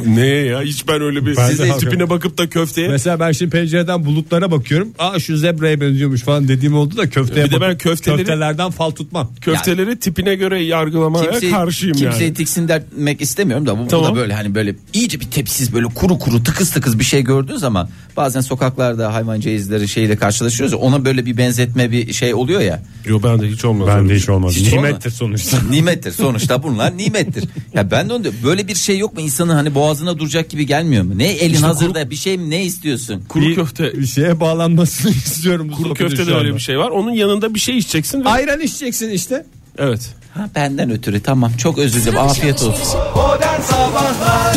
S5: ne ya hiç ben öyle bir
S3: Ben
S5: siz
S3: de
S5: de
S3: hakikaten.
S5: tipine bakıp da köfteye.
S3: Mesela ben şimdi pencereden bulutlara bakıyorum. Aa şu zebraya benziyormuş falan dediğim oldu da köfteye
S5: Bir de ben
S3: bakıp
S5: köfteleri-
S3: köftelerden fal tutmam.
S5: köfteleri tipine göre yargılamaya
S4: kimseyi-
S5: karşıyım
S4: kimseyi
S5: yani.
S4: tiksindirmek istemiyorum da bu, bu
S5: Tamam.
S4: da böyle hani böyle iyice bir tepsiz böyle kuru kuru tıkız tıkız bir şey gördüğün zaman bazen sokaklarda hayvan izleri şeyle karşılaşıyoruz ya ona böyle bir benzetme bir şey oluyor ya.
S5: Yo ben de hiç olmaz. öyle bir şey.
S3: olmaz.
S4: Hiç olmaz.
S3: sonuçta.
S4: Nimettir sonuçta bunlar nimettir. Ya ben de onu diyorum. böyle bir şey yok mu insanın hani boğazına duracak gibi gelmiyor mu? Ne elin hazırda bir şey mi ne istiyorsun?
S5: Kuru köfte
S3: Bir şeye bağlanmasını istiyorum. bu
S5: kuru
S3: sohbetin
S5: köftede
S3: şu
S5: öyle
S3: anda.
S5: bir şey var. Onun yanında bir şey içeceksin ve
S3: Ayran içeceksin işte.
S5: evet.
S4: Ha, benden ötürü tamam çok özür dilerim afiyet olsun.
S7: Modern Sabahlar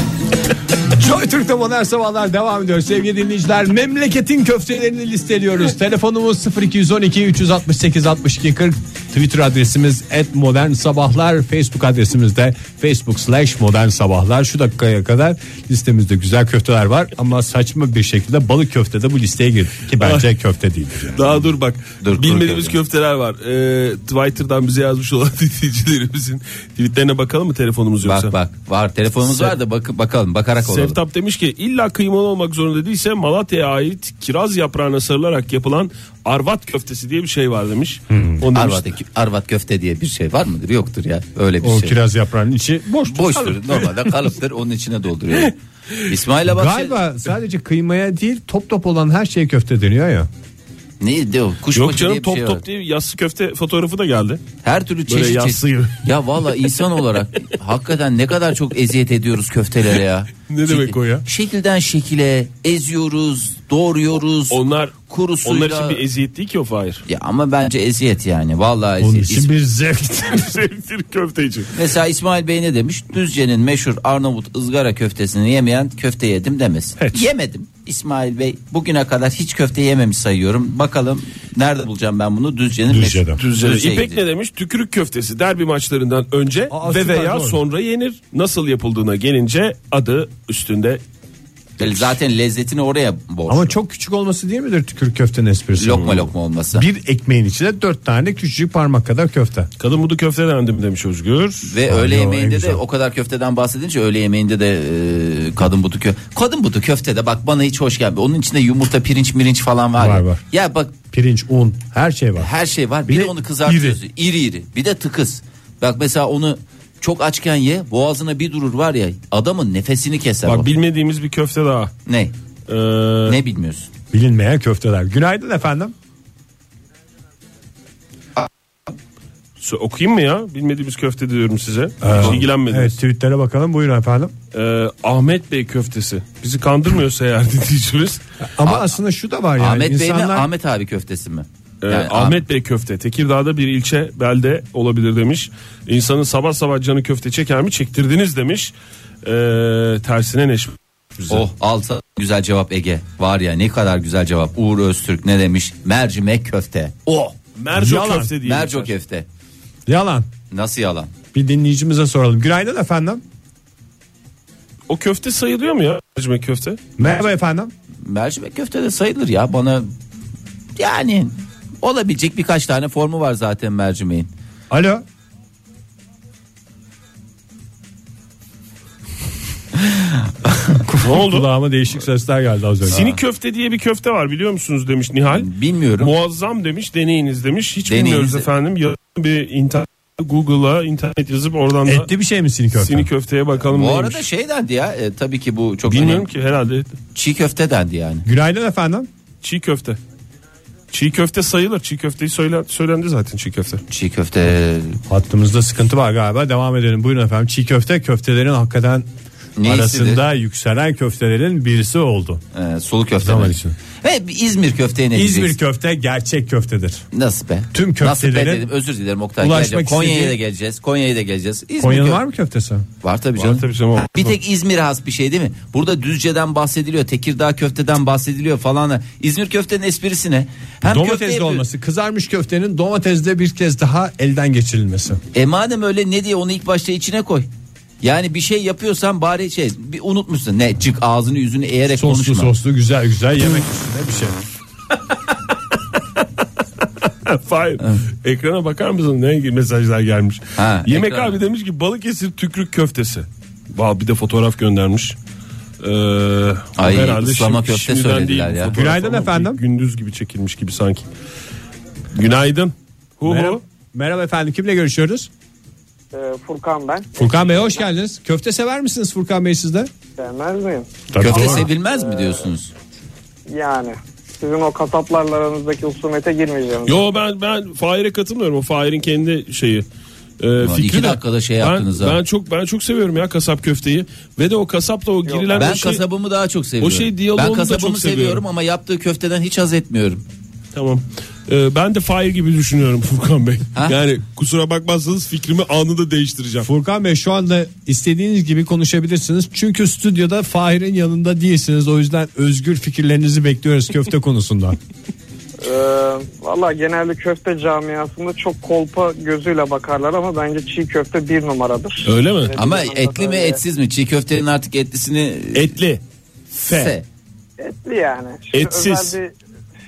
S3: Joy Türk'te modern sabahlar devam ediyor. Sevgili dinleyiciler memleketin köftelerini listeliyoruz. Telefonumuz 0212 368 62 40. Twitter adresimiz et modern sabahlar. Facebook adresimiz de facebook slash modern sabahlar. Şu dakikaya kadar listemizde güzel köfteler var. Ama saçma bir şekilde balık köfte de bu listeye girdi. Ki bence köfte değil.
S5: Daha dur bak.
S4: Dur,
S5: Bilmediğimiz
S4: dur,
S5: köfteler var. Ee, Twitter'dan bize yazmış olan dinleyicilerimizin tweetlerine bakalım mı telefonumuz yoksa?
S4: Bak bak var telefonumuz var da bak, bakalım bakarak olalım.
S5: Sevtap demiş ki illa kıymalı olmak zorunda değilse Malatya'ya ait kiraz yaprağına sarılarak yapılan arvat köftesi diye bir şey var demiş. Onu demiş,
S4: Hmm. Arvat, Arvat köfte diye bir şey var mıdır? Yoktur ya öyle bir
S3: O
S4: şey.
S3: kiraz yaprağının içi boş.
S4: Boştur normalde kalıptır onun içine dolduruyor. İsmail şey- Abbas
S3: şey- Galiba sadece kıymaya değil top top olan her şeye köfte deniyor ya.
S4: Neydi o? Kuş
S5: Yok
S4: başı
S5: canım
S4: diye bir
S5: top
S4: şey var.
S5: top diye yassı köfte fotoğrafı da geldi.
S4: Her türlü
S5: Böyle
S4: çeşit
S5: yassı
S4: çeşit.
S5: gibi.
S4: Ya valla insan olarak hakikaten ne kadar çok eziyet ediyoruz köftelere ya.
S5: Ne demek o ya?
S4: Şekilden şekile eziyoruz, doğruyoruz.
S5: Onlar
S4: kurusuyla.
S5: onlar için bir eziyet değil ki o Fahir.
S4: Ya ama bence eziyet yani. Vallahi
S3: Onun
S4: eziyet.
S3: için
S4: İs-
S3: bir zevk.
S5: Sevdir köfte için.
S4: Mesela İsmail Bey ne demiş? Düzce'nin meşhur Arnavut ızgara köftesini yemeyen köfte yedim demesin. Yemedim. İsmail Bey bugüne kadar hiç köfte yememiş sayıyorum. Bakalım nerede bulacağım ben bunu? Düzce'nin
S3: Düzce'de.
S4: meşhur.
S5: Düzce.
S4: Düzce'ye
S5: İpek ne
S4: gidiyor.
S5: demiş? Tükürük köftesi derbi maçlarından önce
S3: Aa,
S5: ve
S3: süper,
S5: veya
S3: doğru.
S5: sonra yenir. Nasıl yapıldığına gelince adı üstünde
S4: Zaten lezzetini oraya borçlu.
S3: Ama çok küçük olması değil midir tükürük köftenin esprisi?
S4: lokma lokma olması.
S3: Bir ekmeğin içine dört tane küçücük parmak kadar köfte.
S5: kadın budu köfte dendim demiş Özgür.
S4: Ve
S3: Ay,
S4: öğle
S3: o en
S4: yemeğinde
S3: güzel.
S4: de o kadar köfteden bahsedince öğle yemeğinde de e, kadın butu kö kadın butu köfte de bak bana hiç hoş gelmiyor. Onun içinde yumurta, pirinç, mirinç falan var.
S3: Var,
S4: ya.
S3: var.
S4: Ya bak
S3: Pirinç, un her şey var.
S4: her şey var. Bir, de,
S3: de
S4: onu kızartıyoruz. İri. iri Bir de tıkız. Bak mesela onu çok açken ye boğazına bir durur var ya adamın nefesini keser o.
S5: Bak bilmediğimiz bir köfte daha.
S4: ne?
S5: Ee,
S4: Ne bilmiyorsun?
S3: Bilinmeyen köfteler. Günaydın efendim.
S5: So- Okuyayım mı ya? Bilmediğimiz köfte diyorum size. Ee, Hiç
S3: Evet
S5: ilgilenmediniz.
S3: tweetlere bakalım buyurun efendim.
S5: Ee, Ahmet Bey köftesi. Bizi kandırmıyorsa eğer dinleyicimiz.
S3: Ama aslında şu da var yani.
S4: Ahmet Bey mi
S3: insanlar
S4: Ahmet abi köftesi mi?
S5: Ee,
S4: Yani
S5: Ahmet Bey köfte. Tekirdağ'da bir ilçe belde olabilir demiş. İnsanın sabah sabah canı köfte çeker mi? Çektirdiniz demiş. Ee, tersine neşme. Güzel.
S4: Oh alta güzel cevap Ege. Var ya ne kadar güzel cevap. Uğur Öztürk ne demiş? Mercimek köfte. Oh.
S5: Merco
S3: Yalan.
S5: köfte diye.
S4: Merco
S5: geçer.
S4: köfte.
S3: yalan.
S4: Nasıl yalan?
S3: Bir dinleyicimize soralım. Günaydın efendim.
S5: O köfte sayılıyor mu ya? Mercimek köfte.
S3: Merhaba efendim.
S4: Mercimek köfte de sayılır ya bana. Yani olabilecek birkaç tane formu var zaten mercimeğin.
S3: Alo.
S5: ne oldu?
S3: Kulağıma değişik sesler geldi az önce.
S5: Sinik köfte diye bir köfte var biliyor musunuz demiş Nihal.
S4: Bilmiyorum.
S5: Muazzam demiş deneyiniz demiş. Hiç
S4: Deneyiniz
S5: bilmiyoruz
S4: de-
S5: efendim. Ya bir internet Google'a internet yazıp oradan da
S3: Etli bir şey mi sinik köfte?
S5: sinik köfteye bakalım
S4: Bu
S5: neymiş.
S4: arada şey dendi ya e, tabii ki bu çok
S5: Bilmiyorum
S4: önemli.
S5: ki herhalde
S4: Çiğ köfte dendi yani.
S3: Günaydın efendim.
S5: çiğ köfte. Çiğ köfte sayılır. Çiğ köfteyi söylen, söylendi zaten çiğ köfte.
S4: Çiğ köfte
S3: Hattımızda sıkıntı var galiba. Devam edelim. Buyurun efendim. Çiğ köfte köftelerin hakikaten
S4: Neyisidir?
S3: arasında yükselen köftelerin birisi oldu.
S4: e, sulu köfte.
S3: Zaman
S4: mi?
S3: için.
S4: Ve bir İzmir köfteye ne
S3: İzmir
S4: diyeceksin?
S3: köfte gerçek köftedir.
S4: Nasıl be?
S3: Tüm
S4: Nasıl be
S3: köftelerin
S4: dedim özür dilerim Oktay.
S3: ulaşmak
S4: Geleceğim. Konya'ya
S3: istediği-
S4: da geleceğiz. Konya'ya da geleceğiz. İzmir
S3: Konya'nın
S4: köfte-
S3: var mı köftesi?
S4: Var tabii canım.
S5: tabii canım.
S4: Bir tek İzmir has bir şey değil mi? Burada Düzce'den bahsediliyor, Tekirdağ köfteden bahsediliyor falan. İzmir köftenin esprisi ne? Hem köfte
S3: Domatesli
S4: yapıyor-
S3: olması. Kızarmış köftenin domatesle bir kez daha elden geçirilmesi.
S4: E madem öyle ne diye onu ilk başta içine koy. Yani bir şey yapıyorsan bari şey bir unutmuşsun. Ne cık ağzını yüzünü eğerek
S3: Soslu
S4: konuşma.
S3: soslu güzel güzel yemek üstüne bir şey.
S5: Hayır. Ekrana bakar mısın ne gibi mesajlar gelmiş?
S4: Ha,
S5: Yemek
S4: ekran.
S5: abi demiş ki Balıkesir tükürük köftesi. Vav bir de fotoğraf göndermiş. Ee,
S4: Ay,
S5: o
S4: ıslama
S5: şimdi-
S4: köfte
S5: şimdiden
S4: söylediler
S5: değil bu
S4: ya.
S5: fotoğraf
S3: Günaydın
S5: ama
S3: efendim.
S5: Gündüz gibi çekilmiş gibi sanki. Günaydın. Hu
S3: Merhaba,
S5: hu.
S3: merhaba efendim kimle görüşüyoruz?
S8: E, Furkan ben.
S3: Furkan Bey hoş geldiniz. Köfte sever misiniz Furkan Bey siz de?
S8: Sevmez miyim?
S4: Köfte sevilmez mi diyorsunuz?
S8: Yani. Sizin o kasaplarla aranızdaki husumete girmeyeceğim.
S5: Yo ben ben Fahir'e katılmıyorum. O Fahir'in kendi şeyi. E,
S4: iki
S5: fikri de-
S4: dakikada şey
S5: ben,
S4: yaptınız ha.
S5: ben çok ben çok seviyorum ya kasap köfteyi ve de o kasapla o girilen
S4: Ben
S5: o şey
S4: kasabımı daha çok seviyorum.
S5: şey diyaloğunu
S4: ben
S5: da
S4: kasabımı
S5: çok seviyorum.
S4: ama yaptığı köfteden hiç haz etmiyorum.
S5: Tamam. Ee, ben de Fahir gibi düşünüyorum Furkan Bey.
S4: Ha?
S5: Yani kusura bakmazsanız fikrimi anında değiştireceğim.
S3: Furkan Bey şu anda istediğiniz gibi konuşabilirsiniz. Çünkü stüdyoda Fahir'in yanında değilsiniz. O yüzden özgür fikirlerinizi bekliyoruz köfte konusunda.
S8: Ee, Valla genelde köfte camiasında çok kolpa gözüyle bakarlar ama bence çiğ köfte bir numaradır.
S5: Öyle mi?
S4: Ama
S8: Anladım,
S4: etli mi
S8: öyle.
S4: etsiz mi? Çiğ köftenin artık etlisini
S5: Etli.
S4: se.
S8: Etli yani. Şimdi
S5: Etsiz.
S8: Özel bir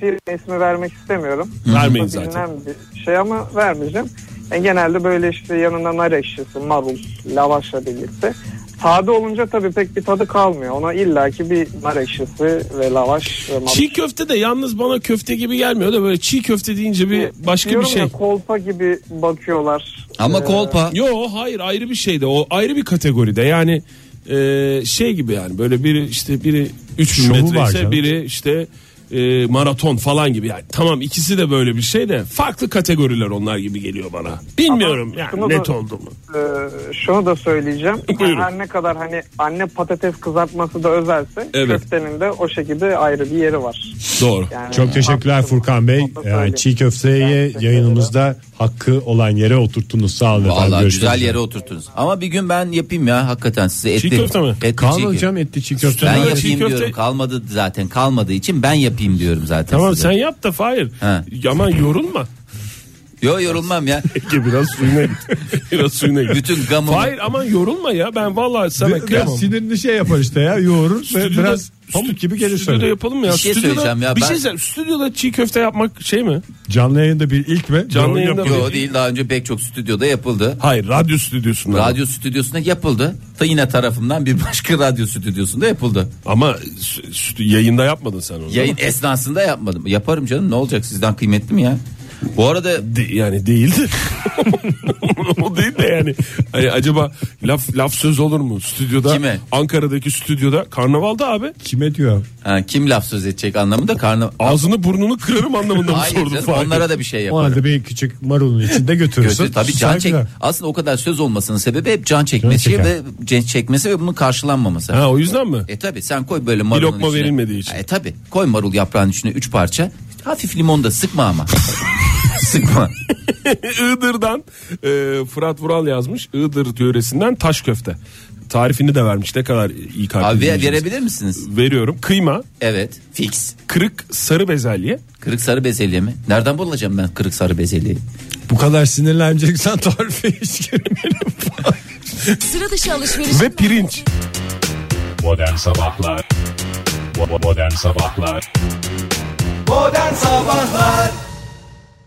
S8: firma ismi vermek istemiyorum.
S5: Vermeyin
S8: Bu
S5: zaten.
S8: Bilinen bir şey ama vermeyeceğim. Yani genelde böyle işte yanına nar ekşisi, marul, lavaşla birlikte. Sade olunca tabii pek bir tadı kalmıyor. Ona illaki bir nar ekşisi ve lavaş ve marul.
S5: Çiğ köfte de yalnız bana köfte gibi gelmiyor da böyle çiğ köfte deyince bir başka bir
S8: E, Diyorum
S5: şey.
S8: Ya, kolpa gibi bakıyorlar.
S4: Ama
S8: Ee,
S4: kolpa.
S5: Yo hayır ayrı bir şey de o ayrı bir kategoride yani e, şey gibi yani böyle biri işte biri 3
S3: Şovu
S5: metre
S3: var
S5: ise
S3: canım.
S5: biri işte e, maraton falan gibi. Yani tamam ikisi de böyle bir şey de farklı kategoriler onlar gibi geliyor bana. Bilmiyorum
S8: Ama
S5: yani
S8: şunu
S5: net
S8: da-
S5: oldu mu?
S8: Ee, şunu da söyleyeceğim.
S5: E, Buyurun.
S8: Her ne kadar hani anne patates kızartması da özelse
S5: Evet.
S8: köftenin de o şekilde ayrı bir yeri var.
S5: Doğru.
S8: Yani
S3: Çok teşekkürler
S8: haklısın.
S3: Furkan Bey.
S8: Onu da
S3: Yani
S8: söyleyeyim.
S3: çiğ köfteyi
S8: teşekkür
S3: yayınımızda hakkı olan yere oturttunuz. Sağ olun efendim.
S4: Vallahi
S3: Görüşmek
S4: güzel
S3: üzere.
S4: yere oturttunuz. Ama bir gün ben yapayım ya hakikaten size etli.
S5: köfte mi?
S4: Etli
S3: Kaldı
S4: çiğ köfte.
S3: hocam etli çiğ
S4: Ben
S3: köfte.
S5: Çiğ
S4: yapayım
S5: köfte-
S4: diyorum. Kalmadı zaten. Kalmadığı için ben yapayım diyorum zaten.
S5: Tamam
S4: size.
S5: sen yap da Fahir.
S4: Ha.
S5: Aman yorulma.
S4: Yo yorulmam ya.
S5: Ege biraz suyuna git. biraz suyuna git.
S4: Bütün gamımı-
S5: Hayır aman yorulma ya. Ben vallahi sana
S3: Biraz
S5: kıyamam.
S3: sinirini şey yapar işte ya yoğurur ve
S5: Stüdyoda-
S3: biraz pamuk gibi gelir
S5: Stüdyoda
S3: söyle.
S5: yapalım ya.
S4: Bir şey
S5: Stüdyoda-
S4: söyleyeceğim ya,
S5: Bir
S4: ben-
S5: şey söyleyeceğim. Stüdyoda çiğ köfte yapmak şey mi?
S3: Canlı yayında bir ilk mi?
S5: Canlı
S3: Doğru
S5: yayında-
S3: yapalım.
S4: Yo değil daha önce pek çok stüdyoda yapıldı.
S5: Hayır radyo stüdyosunda.
S4: Radyo stüdyosunda yapıldı. Da yine tarafımdan bir başka radyo stüdyosunda yapıldı.
S5: Ama stü- stü- yayında yapmadın sen onu.
S4: Yayın esnasında yapmadım. Yaparım canım ne olacak sizden kıymetli mi ya? Bu arada
S5: De- yani değildi. o değil de yani. Hani acaba laf laf söz olur mu? Stüdyoda
S4: Kime?
S5: Ankara'daki stüdyoda karnavalda abi.
S3: Kime diyor?
S4: ha, e, kim laf söz edecek anlamında karnı...
S5: Ağzını burnunu kırarım anlamında mı
S4: Hayır
S5: sordun
S4: canım,
S5: Fahir?
S4: onlara da bir şey
S3: O
S4: yaparım.
S3: halde bir küçük marulun içinde götürürsün.
S4: Götür- tabii can çek.
S3: Saygılar.
S4: Aslında o kadar söz olmasının sebebi hep can çekmesi
S3: çeker.
S4: ve can çekmesi ve bunun karşılanmaması.
S5: Ha o yüzden mi?
S4: E tabi sen koy böyle marulun
S5: lokma
S4: içine.
S5: verilmediği için.
S4: E tabi koy marul yaprağının içine 3 parça. Hafif limon da sıkma ama. sıkma.
S5: Iğdır'dan e, Fırat Vural yazmış. Iğdır yöresinden taş köfte. Tarifini de vermiş. Ne kadar iyi kalpli
S4: Abi ver-
S5: dinleyicimiz.
S4: verebilir misiniz?
S5: Veriyorum. Kıyma,
S4: Evet. Fix.
S5: kırık sarı bezelye.
S4: Kırık sarı bezelye mi? Nereden bulacağım ben kırık sarı bezelyeyi?
S3: Bu kadar sinirleneceksen tarife hiç girmeyelim.
S7: Sıra dışı alışveriş.
S5: ve pirinç.
S2: Modern Sabahlar Modern Sabahlar
S10: Modern Sabahlar